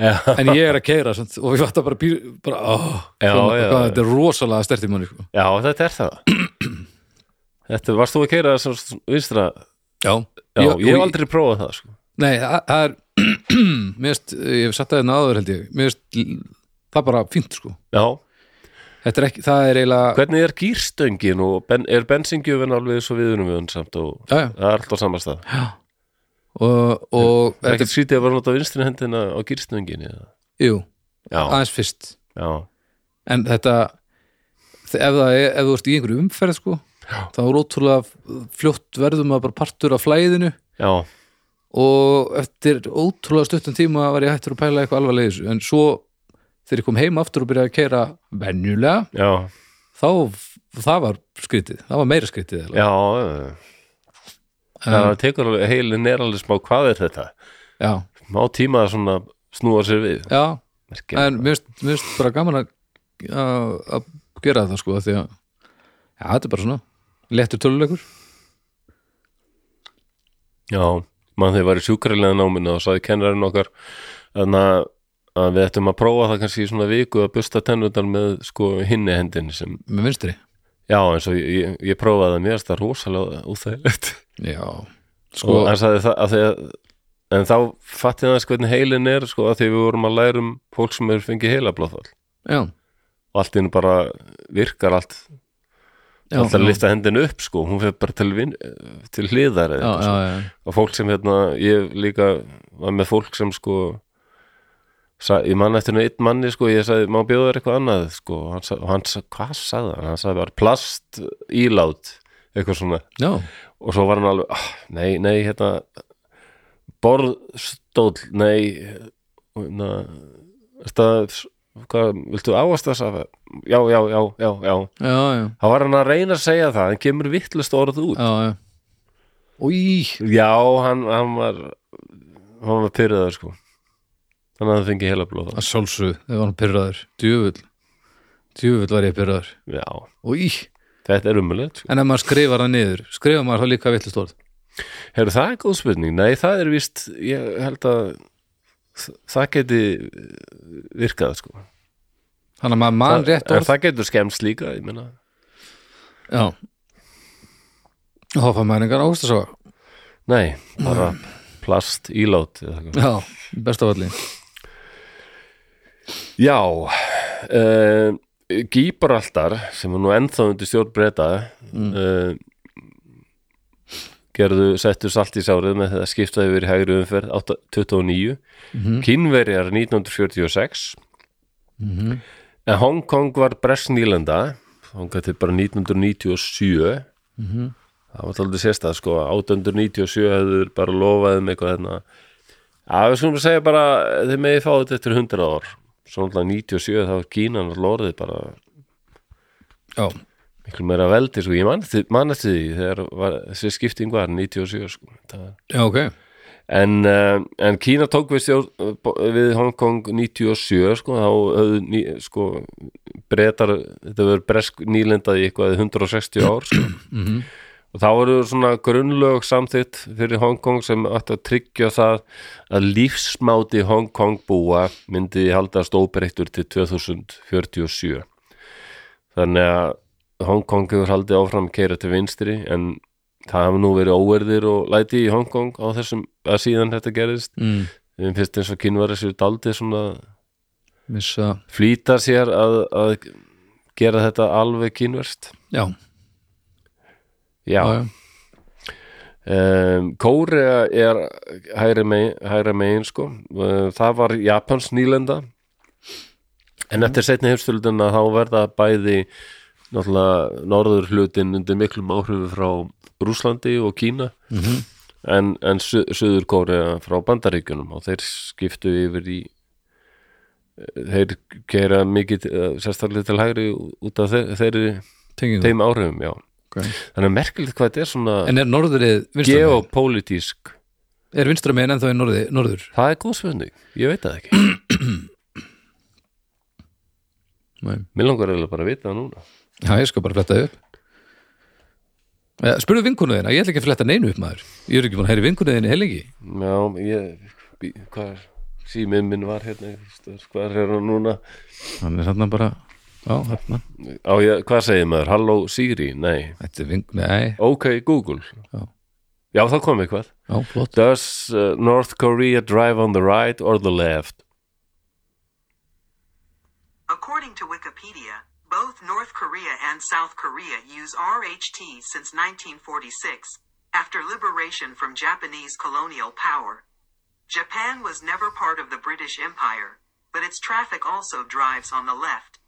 já,
en ég er að keira samt, og ég fatta bara bíl bara, ó,
Já,
svona,
já.
hvað, þetta er rosalega stert í manni sko.
já þetta er það. Þetta, varst þú að keira þess að vinstra?
Já,
Já,
Ég-
ég, hef
og-
aldrei prófað það sko.
Nei, það það er mér veist, ég hef satt að þetta áður held ég mér veist, það er bara fínt sko
Já,
Þetta er ekki, það er eiginlega
Hvernig er gýrstöngin og ben, er bensingjöfin alveg svo viðunum við hann samt og
Já, já,
það er alltaf samastað?
og, og
Það er
þetta,
ekkert skrítið að vera nota vinstri hendina á gýrstöngin eða?
jú,
Já,
aðeins fyrst
já,
en þetta þe- ef, það er, ef þú ert í einhverju umferð sko, þá er ótrúlega fljótt verðum að bara partur af flæðinu
já,
og eftir ótrúlega stuttum tíma var ég hættur að pæla eitthvað alvarlega í þessu en svo þegar ég kom heim aftur og byrjaði að keira venjulega
já,
þá það var skrítið, það var meira skrítið eiginlega.
já, já. Það tekur alveg, heilin er alveg smá, hvað er þetta?
já,
Má tíma að svona snúa sér við.
já,
Merkja.
en mér finnst- mér finnst bara gaman að, að, að gera það sko af því að já, þetta er bara svona, lettur tölulegur
Já, mann þegar ég var í sjúkrarlega náminu og sagði kennarinn okkar þannig að að við ættum að prófa það kannski í svona viku að busta tennundar með sko hinni hendin sem,
með vinstri
já eins og ég, ég, ég prófaði það mér að það rosalega úþægilegt
já, sko,
og hann sagði það að því að en þá fatti hann hvernig heilin er sko að því við vorum að læra um fólk sem er fengið heilablóðfall
já
og allt innu bara virkar allt
Já,
alltaf
já.
að lifta hendin upp sko hún fyrir bara til, vin, til hliðar eða
já,
eitthvað,
já,
sko.
já, já.
og fólk sem hérna ég líka var með fólk sem sko sa, ég man eftir nú einn manni sko ég sagði má bjóða þér eitthvað annað sko og hann, sa- og hann sa, hvað sagði hann? hann sagði bara plast ílát eitthvað svona
já,
og svo var hann alveg ah, nei, nei, hérna borðstóll, nei hérna stað, hvað, viltu ávast þess að já, já, já, já, já
já, já,
þá var hann að reyna að segja það, hann kemur vittlust orð út,
já, já. Új,
já, hann, hann var hann var pyrraður sko þannig að það fengi heila blóða
að sjálfsögðu, þau var hann pyrraður, djöfull djúvill var ég pyrraður
já,
og í,
þetta er umulegt
en ef maður skrifar það niður skrifar maður þá líka villust orð
Hefur það er góð spurning? Nei, það er víst, ég held að þ- það geti virkað sko.
þannig að maður
Það,
mann rétt
ef
orð
það getur skemmst líka, ég meina
já og þá fær maður engan ástasaga
Nei, bara plast ílát eða eitthvað.
já, best af allir
Já uh, Gíbraldar sem er nú ennþá undir stjórn breyta mm. gerðu settu salt í sárið með þetta skipta yfir í hægri umferð 8 29 Kínverjar 1946 en Hong Kong var Bresnýlenda Hong til bara 1997 það var alltaf sérstað sko 897 hefur bara lofað um eitthvað hérna að við skulum segja bara þið megið fá þetta eftir 100 ár svo alltaf 97 þá var Kína náttúrulega orðið bara
já,
miklu meira veldi sko, ég man eftir man eftir því þegar var, þessi skipting var 97 sko, það var
já, ok
en, uh, en Kína tók við, stjórn, við Hong Kong 97 sko, þá höfðu ný, sko, breytar, þetta verður bresk nýlendað í eitthvað í 160 ár sko. og þá voru svona grunnlög samþitt fyrir Hong Kong sem ætti að tryggja það að lífsmáti Hong Kong búa myndi haldast óbreyttur til 2047 þannig að Hong Kong hefur haldið áfram keira til vinstri en það hafa nú verið óverðir og læti í Hongkong á þessum að síðan þetta gerðist
mm.
þeim finnst eins og kynvar þessu daldið svona
missa,
flýta sér að, að gera þetta alveg kynverst
já,
já,
já, já.
Um, Kórea er hæra megin, hæra megin sko. Eh, það var Japans nýlenda en eftir setni heimstöldina þá verða bæði náttúrulega norður hlutin undir miklum áhrifu frá Rúslandi og Kína -hmm. en, en su suður Kórea frá Bandaríkjunum og þeir skiptu yfir í þeir gera mikið eh, sérstaklega til hægri út af þe- þeirri
tengið
þeim áhrifum, já
Ok.
þannig að merkilegt hvað þetta er svona
en er norðrið vinstra megin?
geopolítísk
er vinstra megin ennþá í norði, norður?
það er góð spurning, ég veit það ekki
Nei.
mér langar eiginlega bara að vita það núna
já, ég skal bara fletta því upp Eh, spurðu vinkonu þína, ég ætla ekki að fletta neinu upp maður ég er ekki búin að heyri vinkonu þín í helgi
já, ég, bí- hvað er símið minn var hérna, ég veist það, hvað er hann núna
hann er hann bara, já, hérna
á ég, hvað segir maður, halló Siri nei,
þetta er vink, nei,
ok Google
Já.
já þá kom eitthvað
já, flott
does uh, North Korea drive on the right or the left
According to Wikipedia, both North Korea and South Korea use RHT since 1946, after liberation from Japanese colonial power. Japan was never part of the British Empire, but its traffic also drives on the left.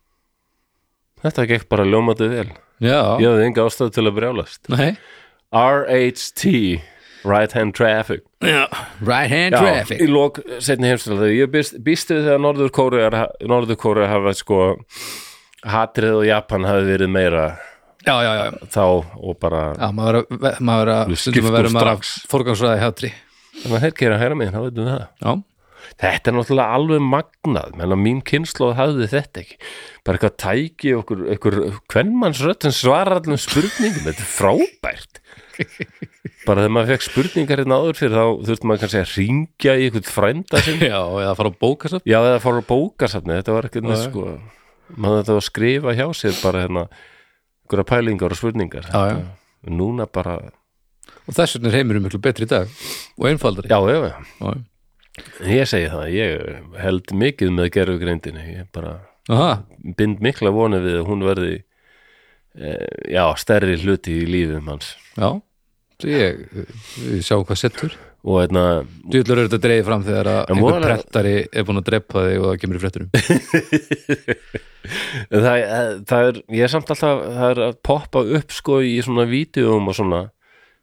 þetta gekk bara ljómandi vel
já,
ég hafði enga ástæð til að brjálast
nei
RHT right hand traffic
right hand
í
traffic
lók setni heimstöldi ég býst, býst við þegar Norður Kóru Norður Kóru hafa sko hatrið og Japan hafi verið meira
já, já, já,
þá og bara
já, maður er að- maður er að,
Við
stundum
skiptum
að vera maður að
strax.
forgangsraði hátri
þannig að þeir gera hæra meginn, þá veitum við það
já,
þetta er náttúrulega alveg magnað menn að mín kynnslóð hafði þetta ekki bara eitthvað tæki okkur, okkur hvernmannsrödd sem svarar allum spurningum þetta er frábært bara þegar maður fekk spurningar hérna áður fyrir þá þurfti maður kannski að ringja í eitthvað frænda sinn
já, eða fara að bóka sér
Já, eða fór á bókasafni, þetta var ekkert neitt
Já, já.
sko maður þetta var að skrifa hjá sér bara hérna, einhverja pælingar og spurningar
Já, já.
Þetta- Núna bara,
og þess vegna er heimurum miklu betri í dag og einfaldari
já, já, já
já.
Ég segi það, ég held mikið með gerfugrindinni, ég bara
Aha,
bind mikla vonu við að hún verði e, já, stærri hluti í lífum hans
já Svo ég, ég sjá hvað settur
og hérna,
djúllur eru þetta dreigði fram þegar að
En
einhver
voðalega-
prettari er búin að drepa þig og það kemur í frétturum
en það, eh, það er ég er samt alltaf, það er að poppa upp sko í svona vídeoum og svona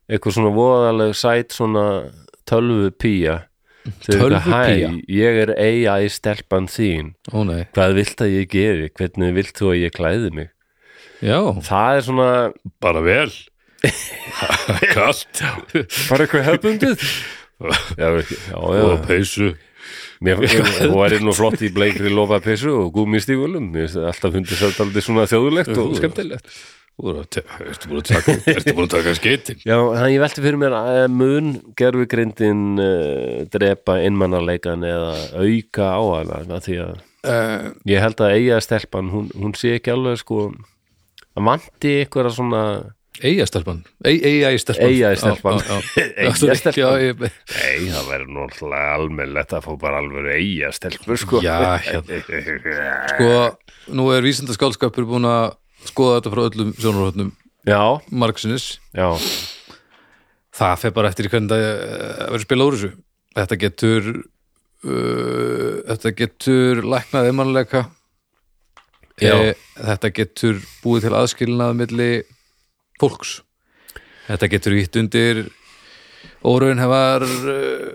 eitthvað svona voðaleg sæt svona tölvu pía
Tölvupía?
Ég er AI stelpan þín
ó nei,
Hvað vilt að ég geri? Hvernig vilt þú að ég klæði mig?
já
Það er svona
bara vel kallt
bara eitthvað hefbundið Já, ekki, já, já.
peysu
Mér hún er nú flott í bleikri lofa pissu og gúmistígulum, mér finnst alltaf hundið sætt aldrei svona þjóðulegt og skemmtilegt
Þú eru að te- ertu búin að taka, ertu búin að taka skeitin?
Já, þannig ég velti fyrir mér að mun gerfi grindin uh, drepa innmannarleikan eða auka á hana af því að
Uh,
ég held að eiga stelpan, hún, hún sé ekki alveg sko að vanti einhverja svona
Eiga stelpan, eiga í stelpan
eiga stelpan
Eiga stelpan Já, ég-
Nei, það verður náttúrulega almennlegt að fá bara alveg eiga stelpur sko
Já,
hérna.
sko, nú er vísindaskálskapur búin að skoða þetta frá öllum sjónarhóttnum
Já,
margsinnis,
já,
það fer bara eftir í hvernig það eh, verður spila úr þessu þetta getur uh, þetta getur læknað einmannleika
Já.
e, þetta getur búið til aðskilnað milli fólks þetta getur ítt undir óraunhefar uh,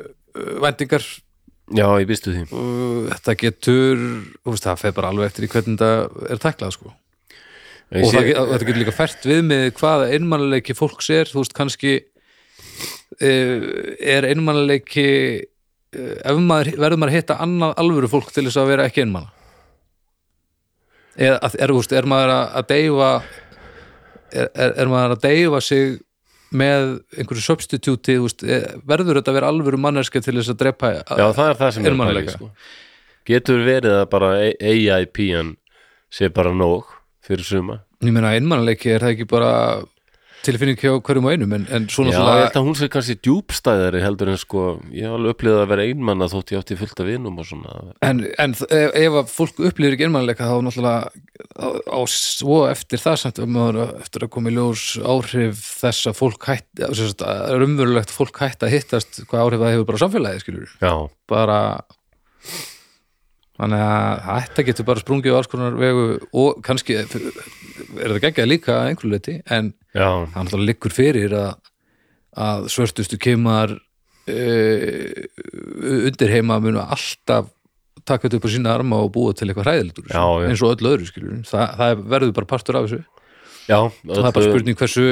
vendingar
já, ég býstu því
uh, þetta getur þú veist, það fer bara alveg eftir í hvernig það er tæklað sko
Ég
og
sé-
það, get- þetta getur líka fært við með hvaða einmannleiki fólks er þú veist kannski uh, er einmannleiki uh, ef maður verður maður að hitta annað alvöru fólk til þess að vera ekki einmann eða að- er, þú veist, er maður að að deyfa er, er, er maður að deyfa sig með einhverju substituti þú veist, eh, verður þetta að vera alvöru manneska til þess að drepa
Já, það er það sem er
Einmanaleika.
pæling, sko. Getur verið að bara E- AIP-an sé bara nóg fyrir suma
ég meina einmannleiki er það ekki bara tilfinning hjá hverjum og einum en, en
Já,
svona
ég held að hún sé kannski djúbstæðari heldur en sko, ég hef alveg upplýðið að vera einmanna þótt ég átti fullt af vinum og svona
En, en þ- ef, ef að fólk upplýður ekki einmannleika þá náttúrulega á, á svo eftir það samt að maður á eftir að koma í ljós áhrif þess að fólk hætt að, sagt, að raunverulegt fólk hætt að hittast hvað áhrif það hefur bara á samfélagið skilur
Já,
bara þannig að þetta getur bara sprungið á alls konar vegu og kannski er það geggjað líka að einhverju leiti en
já,
það náttúrulega liggur fyrir að, að svörtustu kemur uh, undirheima munu alltaf taka þetta upp á sína arma og búa til eitthvað hræðilegt úr þessu,
Já, já.
eins og öll öðru skilur Þa, það verður bara partur af þessu
já
það er bara
öllu-
spurning hversu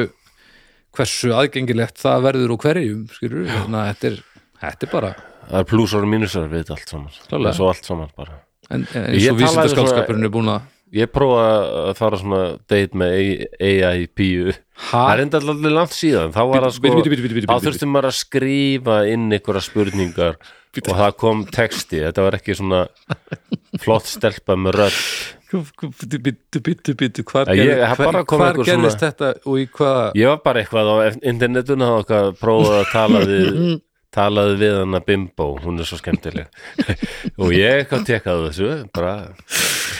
hversu aðgengilegt það verður og hverjum skilur, þannig að þetta er, þetta er bara
það er plúsar og mínusar við þetta allt saman
Klálega.
Svo allt saman bara
en, en
Ég
eins og
talaði
vísindaskálskapurinn er búin að
Ég prófa að fara svona date með AIP-u
ha,
Það er enda allir langt síðan þá var það sko,
Bíddu, bíddu, bíddu, bíddu, bíddu,
þá
bíddu.
þurfti maður að skrifa inn einhverja spurningar og það kom texti, þetta var ekki svona flott stelpa með rödd
bittu, bittu, bittu, bittu hvar,
Ég-
gerði-
það bara
hvar,
kom
hvar
einhver
gerðist þetta og í hvaða
Ég var bara eitthvað á internetuna og eitthvað prófaði að tala við talaði við hana Bimbo, hún er svo skemmtileg og ég eitthvað tekaði þessu bara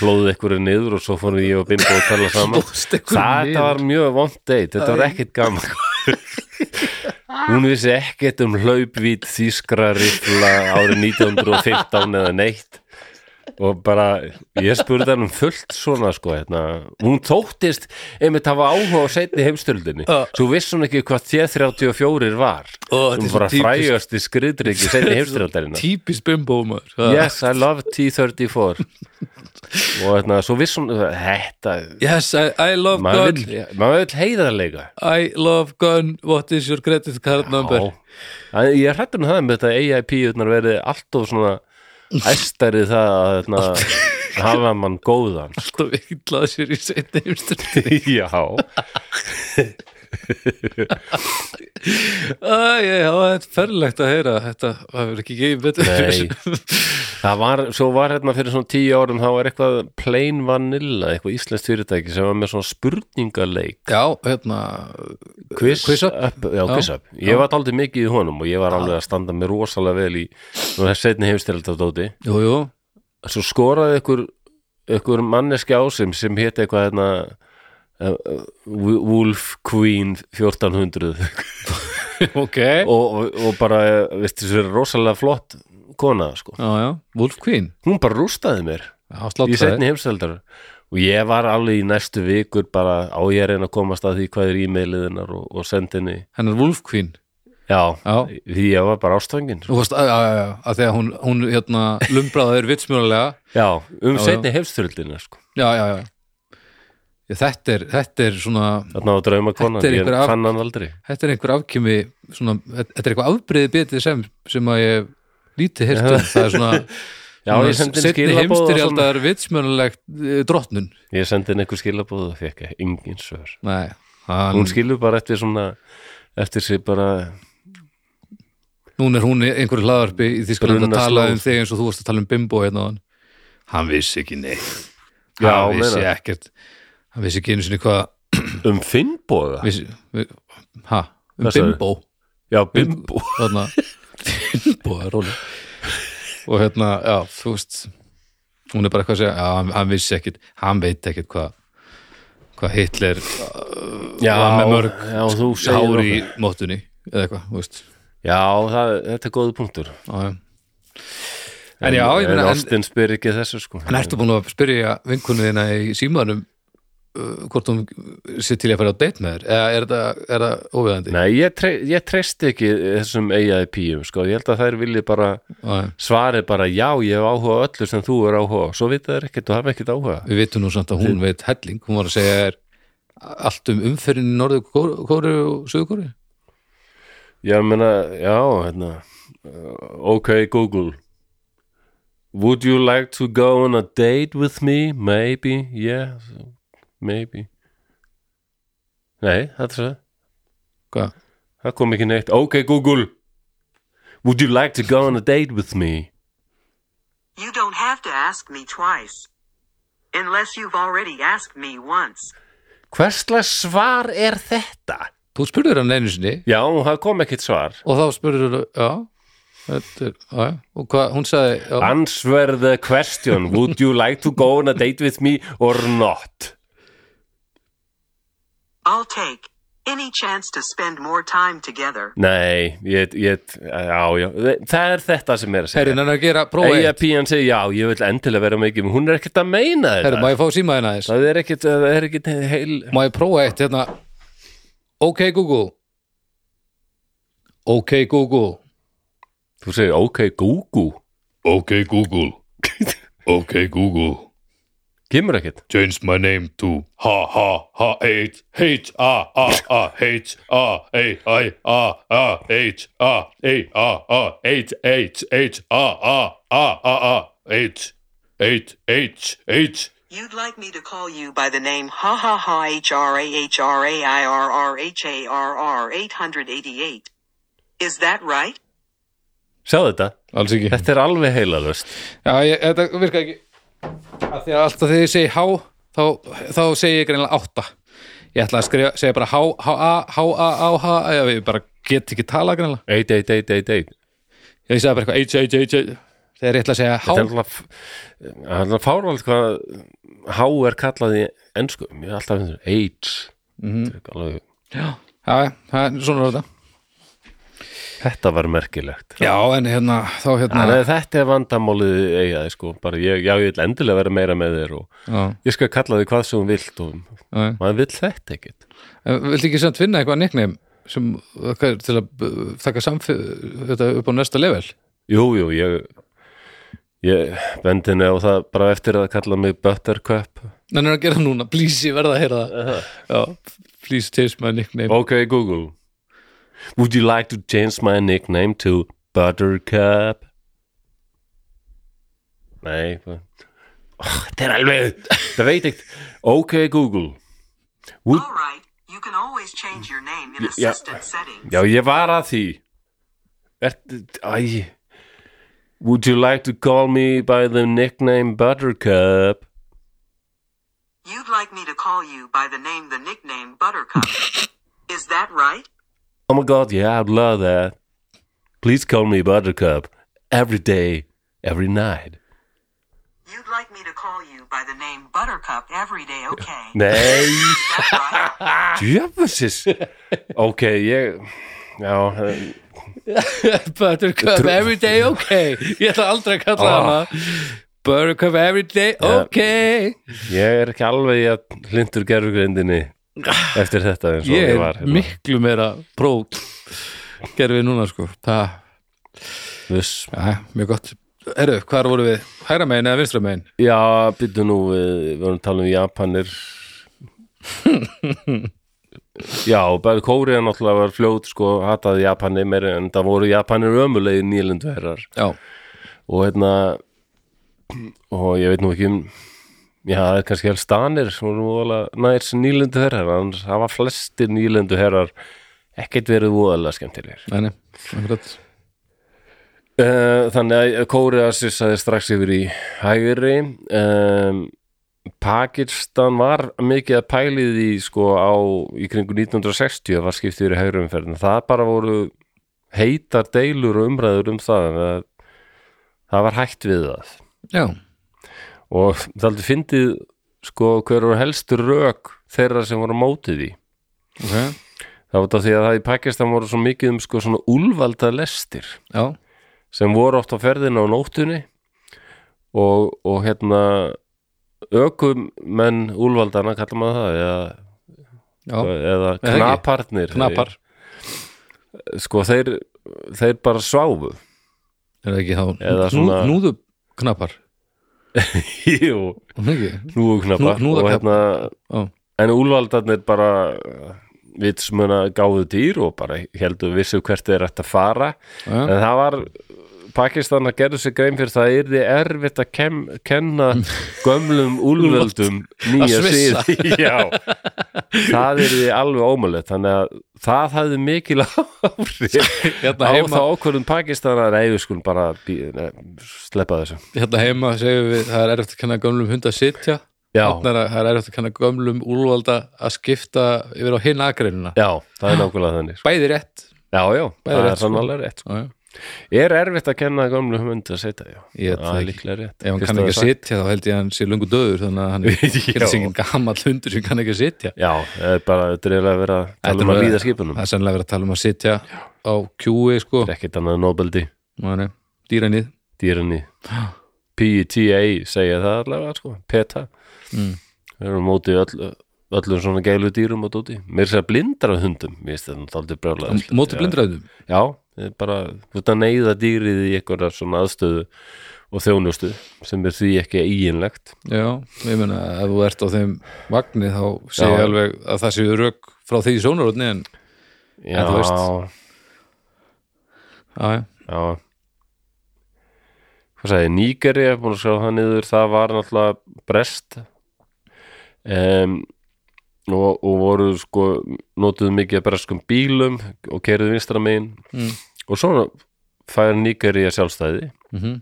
hlóðið einhverju niður og svo fórum ég og Bimbo að tala saman
Hlóðst einhverju niður?
þetta var mjög vond date, þetta var ekkit gaman hún vissi ekkit um hlaupvít þýskra rifla árið 1915 eða neitt og bara, ég spurði hann um fullt svona sko, hérna, hún tóttist einmitt hafa áhuga á seinni heimstöldinni svo vissi hún ekki hvað T34 var
Ó, þetta er
hún
svo
bara
típist.
frægjast í skriðdryggi seinni heimstöldarinnar
típist bimbo maður Það-
yes, I love T34 og hérna, svo vissi hún þetta,
Yes, I, I love
maður
gun
vill maður vill heiðarleika
I love gun, what is your credit card number
Já. En ég er hrættur um það með þetta AIP-unar verið allt of svona æstari það að hérna, hafa mann góðan
Alltaf viklaði sér í seinni heimstöldinni
Já
Æ, já, þetta er ferlegt að heyra Þetta var ekki gefið betur
Nei. Það var, svo var hérna fyrir svona tíu árum þá er eitthvað plain vanilla, eitthvað íslenskt fyrirtæki sem var með svona spurningaleik
Já, hérna
quiz,
Quiz up?
up, já,
Já.
quiz up. ég var daldið mikið í honum og ég var alveg að standa mér rosalega vel í nú þess setni heimstyrlita dóti
Jú, jú,
svo skoraði ykkur, ykkur manneski á sem sem hétt eitthvað hérna uh, uh, Wolf Queen 1400
ok
og, og, og bara, eh, veistu, þessi er rosalega flott kona, sko
Já, já, Wolf Queen
hún bara rústaði mér
Já,
í
sláttaði
setni heimstöldar og ég var alveg í næstu vikur bara á ég að reyna að komast að því hvað er e-mailið hennar og, og sendinni
Hennar Wolf Queen
já,
Já.
því ég var bara ástöngin
Þú veist, já, já, já, að þegar hún, hún hérna, lumbraði þér vitsmjörulega
já, um
Já,
setni heimstöldina sko.
Já, já, já Já, Þetta er, þetta er svona
þarna á drauma konan,
Þetta er
ég
einhver af-
fann hann aldrei
þetta er einhver afkjömi svona, þetta er eitthvað afbreyði betið sem, sem að ég lítið hirtum það er svona
Já, ég sendi inn
setni
skilaboð og
heimstyrjald að er vitsmjönulegt eh, drottnun
Ég sendi inn einhver skilabóð og fekk engin svör
Nei, hann,
Hún skilur bara eftir svona eftir sér bara
núna er hún í einhverju hlaðarpi í Þískaland að
Brunna
tala
slóð.
um þig eins og þú varst að tala um bimbo hérna á hann hann vissi ekki neitt
Já,
hann vissi
meina.
ekkert hann vissi ekki einu sinni hvað
um Finnbóða
vissi, vi, ha, um
Hvað sagði?
bimbo Um
Já, Bimbo
þarna bimbo er róli og hérna, já, þú veist hún er bara eitthvað að segja, já, hann, hann vissi ekkert hann veit ekkert hvað hvað Hitler
Já,
var með mörg
já, þú segir
hár í
okkur.
móttunni eða eitthvað, þú veist
Já, það, þetta er góðu punktur
já, já. en já, ég meina
En
en,
ástin spyr ekki þessu sko
en ertu búin að spyrja vinkunni þína í símanum uh, hvort hún sér til í að fara á date með þér eða er það, er það óviðandi
Nei, ég, tre ég treysti ekki þessum AI píum sko Ég held að þær vilji bara
Já, já.
svari bara já, ég hef áhuga á öllu sem þú er áhuga á. Svo vita þær ekkert og hafa ekkert áhuga
við vitum nú samt að hún veit helling hún var að segja er allt um umferðin í norður kóru og sögur kóru
Já, ég meina, já, hérna uh, Ok, Google Would you like to go on a date with me? Maybe, yeah Maybe Nei, það er svo
hvað?
Það kom ekki neitt. Ok, Google. Would you like to go on a date with me?
You don't have to ask me twice. Unless you've already asked me once.
Hverslega svar er þetta?
þú spurður hann einu sinni
Já, það kom ekkit svar.
og þá spurður hann já, þetta er, já, já. og hvað, hún sagði já,
Answer the question. Would you like to go on a date with me or not?
I'll take any chance to spend more time together.
Nei, ég, ég, já, já. Það er þetta sem er að
herri,
segja.
hann er að gera prófa
Eija
eitt,
Pían segir, já, ég vil endilega vera mikið, hún er ekkert að meina
herri, má
þetta.
ég fá síma þína aðeins
Það er ekkert, það er ekkert heil...
má ég prófa eitt hérna ok Google ok Google
Þú segir, ok, Google.
Okay, Google. okay, Google.
Kemur ekkert.
Change my name to ha ha ha h h a a a h a a i a a h a a a a h h h a a a a a h h h h.
You'd like me to call you by the name ha ha ha h r a h r a i r r h a r r 888. Is that right?
Sjáðu þetta.
alls ekki
Þetta er alveg heilalöst.
já, ég, þetta virka ekki að því að alltaf þegar ég segi há þá, þá segi ég greinlega átta ég ætla að skrifa, segja bara há, há, a, há, a, á, há já, ég bara get ekki tala greinlega
Eitt, eitt, eitt, eitt, eitt.
ég segi bara eitthvað, h, h, h, h þegar ég ætla að segja há,
Þetta er alveg það er alveg fárvald hvað H er kallað í ennsku Mér er alltaf finnst þetta AIDS
Mhm.
Þetta er alveg,
já, já, það er svona er þetta
Þetta var merkilegt
já, en hérna, þá hérna
Þannig að þetta er vandamálið eigaði sko bara ég, já, ég vil endilega vera meira með þér og
já,
ég skal kalla þig hvað sem hún vilt og
já, já.
maður vill þetta ekkit
En Viltu ekki samt finna eitthvað nickname sem okkar til að uh, taka samfél þetta upp á næsta level?
Jú, jú, ég ég bendi henni á það bara eftir að kalla mig Buttercup
Nei, er að gera það núna, please, ég verða að heyra það Já, please taste my nickname
Ok, Google Would you like to change my nickname to Buttercup? Nei hvað- oh, Þetta er alveg Það veit ekkert Ok, Google Would-
All right. You can always change your name in
yeah.
assisted settings.
Já, ég var að því Ert- Æ Would you like to call me by the nickname Buttercup?
You'd like me to call you by the name the nickname Buttercup. Is that right?
Oh my god, yeah, I'd love that Please call me Buttercup Every day, every night
You'd like me to call you by the name Buttercup every day, okay?
Nei
Is that right?
Djöfusis Ok, ég Já, eh,
Buttercup every day, ok Ég ætla aldrei að kalla
Ah.
hana Buttercup every day,
Já.
ok
ég er ekki alveg að hlindur gerfugrindinni eftir þetta eins og
Ég
ég
er
var hérna.
miklu meira pró gerfi núna, sko Það,
Viss.
já, mjög gott Herru, hvar voru við? Hægra megin eða vinstra megin?
Já, býttu nú við, við vorum að tala um Japanir Já, bæði Kóriða náttúrulega var fljót sko, hataði Japani meira en það voru Japanir ömulegi nýlendverðar
já,
og hérna og ég veit nú ekki um já, það er kannski helst danir sem voru voðalega nær nýlendu herrar annars hafa flestir nýlendu herrar ekkert verið voðalega skemmtilegir
nei, nei, akkurat
Eh, Þannig að Kóriða sissaði strax yfir í hægri um, Pakistan var mikið að pælið í sko á í kringu 1960 var skipt yfir í hægri umferðin það bara voru heitar deilur og umræður um það en það, það var hægt við það
já,
og það aldrei fyndið sko hver voru helstu rök þeirra sem voru á móti því
ok,
það var þetta því að það í Pakistan voru svo mikið um sko svona úlvalda lestir
já
sem voru oft á ferðinu á nóttunni og, og hérna ökumenn úlvaldana kallar maður það eða,
já,
eða
það ekki.
knaparnir
knapar
sko þeir, þeir bara sváfu
er það ekki þá,
Eða
Knú,
svona-
knúðu knapar
jú,
var það ekki,
hnúðuknapar
Hnú- hnúðaknapar.
og hérna
Já.
en úlvaldarnir bara vitsmuna gáðu dýr og bara heldur vissu hvert þeir ætti að fara
já,
en það var Pakistan að gerðu sér grein fyrir það yrði erfitt að kem, kenna gömlum úlvöldum nýja
Að svissa.
síð Já, það yrði alveg ómulegt þannig að það hafði mikil áhrif
hérna
á þá
heima
okkurinn Pakistan að reyðu skulum bara bí, ne, sleppa þessu
hérna heima segjum við það er erfitt að kenna gömlum hund að sitja
Já.
Þarna er að- það er erfitt að kenna gömlum úlvalda að skipta yfir á hinn akreinina
Já, það er nákvæmlega þannig sko.
bæði rétt
Já, já, það
rétt,
er
sko.
sannlega rétt sko.
já, já.
Er erfitt að kenna gömlu hundi að setja, já.
Ég veit
það
það
er
ekki.
líklega rétt.
ef
Fyrst
hann kann ekki að
það er sagt.
sitja þá held ég að hann sé lungu döður þannig að hann er
Já.
hérna sé engin gammal hundur sem kann ekki að sitja
Já, það er bara dreifilega að vera að
Þetta
tala
er
um að
bara-
líða skipunum.
það er sennilega verið að tala um að sitja á kjúi sko,
Það er ekkit annað en nobeldi,
dýranið
dýrinni. PETA E segja það allavega, sko, PETA.
Mm.
Við erum á móti öll, öllum svona gælu dýrum og dóti. Mér segja blindra hundum, ég veist þetta aldrei brjálega.
móti blindraðum
Já, það er bara, þú ert að neyða dýrið í einhverja svona aðstöðu og þjónustu sem er því ekki eiginlegt.
já, ég meina ef þú ert á þeim vagnir þá sé ég
Já.
alveg að það séu rök frá því sjónarotni en
Já,
þú veist. já, já,
Já Hvað sagði, Nígeri er búin að skrá það niður, það var náttúrulega brest um, og, og voru sko, notuðu mikið að breskum bílum og keiriðu vinstra megin
Mm.
og svona fær Nígeri að sjálfstæði
mhm,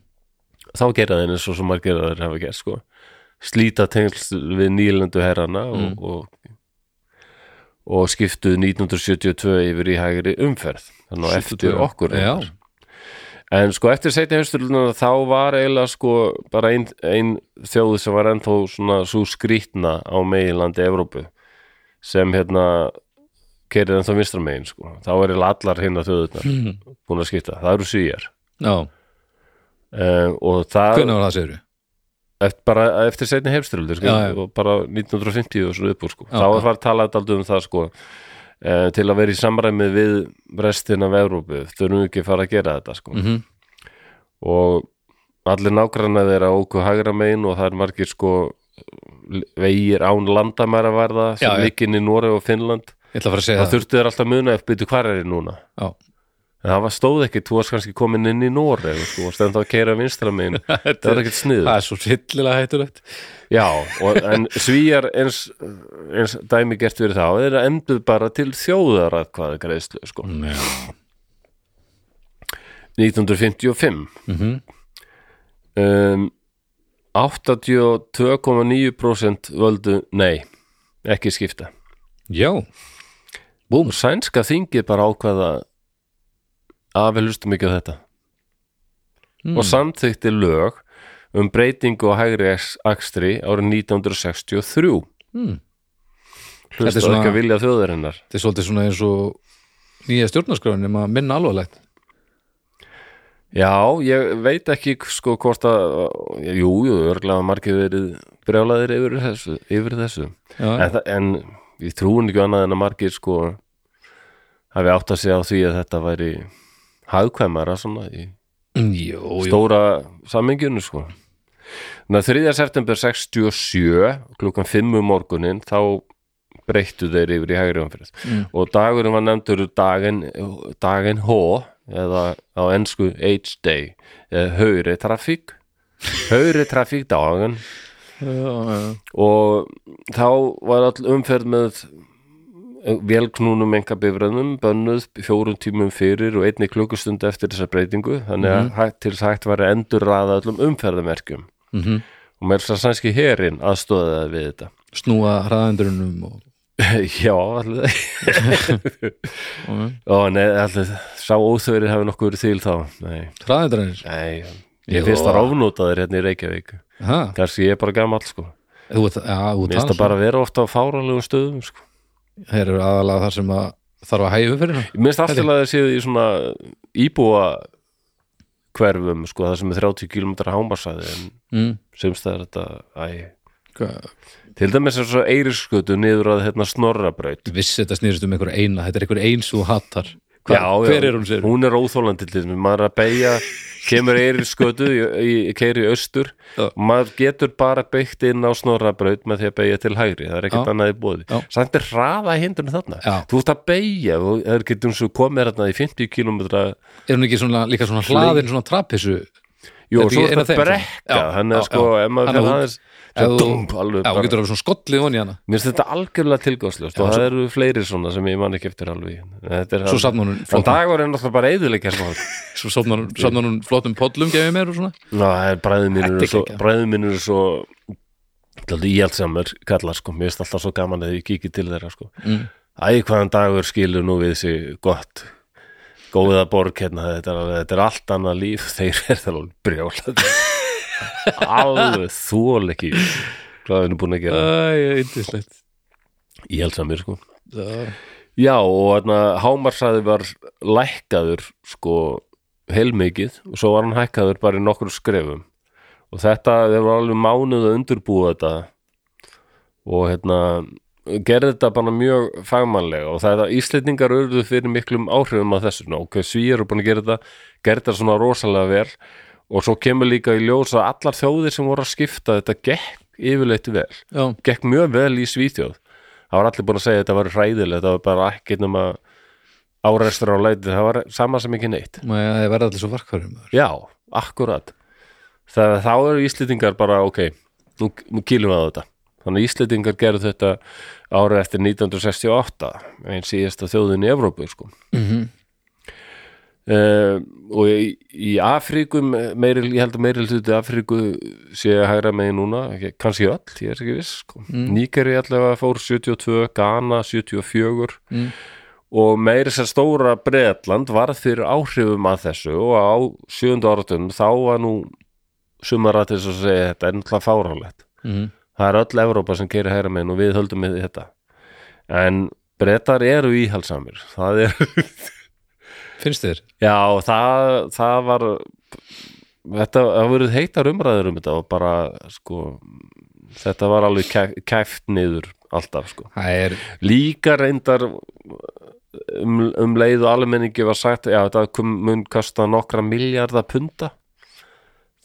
þá gera þeir eins og svo margir að þeir hafa gert sko. slíta tengsl við nýlendu herrana og,
Mm.
og, og skiptuðu 1972 yfir í hægri umferð þannig að eftir
72,
okkur
já.
reyndar. en sko eftir setni heimsturlunar þá var eiginlega sko bara ein, ein þjóð sem var ennþá svona svo skrýtna á meginlandi Evrópu sem hérna kerið ennþá vinstra megin sko þá er eiginlega allar hinna þjóðurnar búin að skipta, það eru svíjar
já
Uh, og það
hvernig var það segir við?
eftir, bara eftir setni heimstyröldur sko,
Já, já.
og bara 1950 og svona upp úr sko.
Já,
þá
já.
var talað aldrei um það sko, e, til að vera í samræmi við restin af Evrópu, þurfum við ekki að fara að gera þetta sko.
Mhm.
og allir nágranna þeirra óku hægra megin og það er margir sko vegir án landamæra verða sem
Já, já.
ligginn í Noreg og Finnland
ég ætla að fara að segja
það
það
þurftu þeir alltaf að muna eftir byrju hvar er ég núna
Já.
en það var stóð ekkit, þú varst kannski komin inn í Noreg sko, og stend þá að keira vinstra megin það var ekkit snið
það er svo hryllilega hættulegt
Já, og, en svíjar eins, eins dæmi gert verið þá þeir endur bara til þjóðar að hvaða greiðslu sko.
já,
1955
mhm,
um, 82,9% völdu nei, ekki skipta
já
Búm. Sænska þingið bara ákvaða að við hlustum ekki á þetta
Mm.
og samþykti lög um breytingu á hægri aks- akstri árið 1963
Mm. Þetta er
hlustu
svona-
ekki að vilja þjóðarinnar
þetta er svolítið svona eins og nýja stjórnarskráin nema minna alvarlegt
Já, ég veit ekki sko hvort að, jú, jú, örglega margir verið brjálaðir yfir þessu, yfir þessu. En,
já,
það- en ég trúin ekki annað en að margir sko hafi átt að segja á því að þetta væri hagkvæmara svona í
jó, jó,
stóra saminginu sko. Ná, 3. september 67 klukkan 5 um morgunin þá breyttu þeir yfir í hægri umferð
Mm.
og dagurinn var nefndur daginn, daginn H eða á ennsku H-Day eða Hauri Trafík Hauri Trafík dagan
já, já.
og þá var all umferð með velknúnum engabifræðnum bönnuð fjórum tímum fyrir og einni klukkustund eftir þessa breytingu þannig að mm -hmm. til þess að hægt var að endurraða öllum umferðamerkjum
Mm
og mér svo sænski herin aðstóða það við þetta
snúa hraðendurinnum og,
Já, allir
og
Ó, nei, allir, sá óþverið hafi nokkuð verið til þá Nei,
hraðendurinnir
nei
Jú.
Ég finnst það ráfnótaðir hérna í Reykjavík
ha,
Kanski ég er bara gamall, sko
þú, ert- já, þú
Mér finnst
talar
það bara að vera ofta á fáralegum stöðum, sko
þeir eru aðalega þar sem að þarf að hægja fyrir
Mér finnst alltaf að það séð í svona íbúa hverfum, sko, það sem er 30 km hámarsæði en
mm.
semst það er þetta, æ
Hvað-
Til dæmis er svo eiriskötu niður að hérna snorrabraut
ég vissi þetta snýrist um einhver eina þetta er einhver eins og hattar Hva,
já, já.
hver er hún sér?
Hún er óþólandi til þessum, maður er að beigja kemur eirinn skötu í, í, keiri í austur
Já.
og maður getur bara beigt inn á snorrabraut með því að beigja til hægri, það er ekkert
Já.
annað í bóði
Já.
samt er hraða hindurinn þarna
Já.
þú ert að beigja, þú það er getur eins og komið þarna í 50 km jú,
er hún ekki svona, líka svona hlaðin svona trappissu
og
Þetta
svo er
er eina
það
þeim,
brekka
svona. Já,
þannig að
já,
sko,
já.
ef maður
Þannig
fyrir
að
aðeins
ef þú-
dump, alveg
já, hún
bara
getur alveg svona skollið hún í hana
Mér finnst þetta algjörlega tilgangsljóst og það eru fleiri svona sem ég man ekki eftir alveg Þetta er
svo
það-
safnar hún
En
flottum,
dagur er náttúrulega bara sko. eðurleikja svona
svo safnar, hún- safnar hún flottum podlum gefið mér og svona
Ná, það er bræðið mínur
Þetta er
er svo,
geggjað.
bræðið mínur er svo alltaf íhaldsamur kallar sko, mér finnst alltaf svo gaman að ég kíki til þeirra sko.
Mm.
Æ, hvaðan dagur skilur nú við þessi gott góða borg hérna, þetta er, þetta er allt annað líf, þeir er það alveg brjóla alveg þól ekki hvað við erum búin að gera
æ, yndislegt
íhaldsamir sko.
Já.
Já, og hérna hámarsæði var lækkaður sko heilmikið og svo var hann hækkaður bara í nokkur skrefum og þetta, þeir var alveg mánuð að undurbúa þetta og hérna gerði þetta bara mjög fagmannlega og það er að Íslendingar urðu fyrir miklum áhrifum að þessu, ná, ok, svíjar eru búin að gera þetta gerði þetta svona rosalega vel og svo kemur líka í ljós að allar þjóðir sem voru að skipta þetta gekk yfirleitt vel
já,
gekk mjög vel í Svíþjóð það var allir búin að segja að þetta var hræðilegt það var bara ekki nema áreistur á leiti, það var sama sem ekki neitt
Mæ, það verða allir svo varkvarum
já, akkurat það, þá eru Íslendingar bara ok nú, nú kýlum við á þetta þannig að Íslendingar gerðu þetta ára eftir 1968 einn síðasta þjóðin í Evrópu sko. Uh, og í, í Afríkum meiri, ég held að meiri hluti Afríku sé að hægra megin núna ekki, kannski öll, ég er ekki viss sko. mm. Nígeri allavega fór 72, Ghana 74
Mm.
og meiri sér stóra Breitland varð fyrir áhrifum að þessu og á sjöndu áratum þá var nú sumara til þess að segja þetta er náttúrulega fáránlegt
Mhm.
það er öll Evrópa sem keirir hægra megin og við höldum við þetta en brettar eru íhalsamir það er
finnst þér?
Já, það, það var þetta, það voru heitar umræður um þetta og bara, sko þetta var alveg kæf, kæft niður alltaf, sko.
það er,
Líka reyndar um, um leið og almenningi var sagt, já, þetta kom, mun kosta nokkra miljardar punta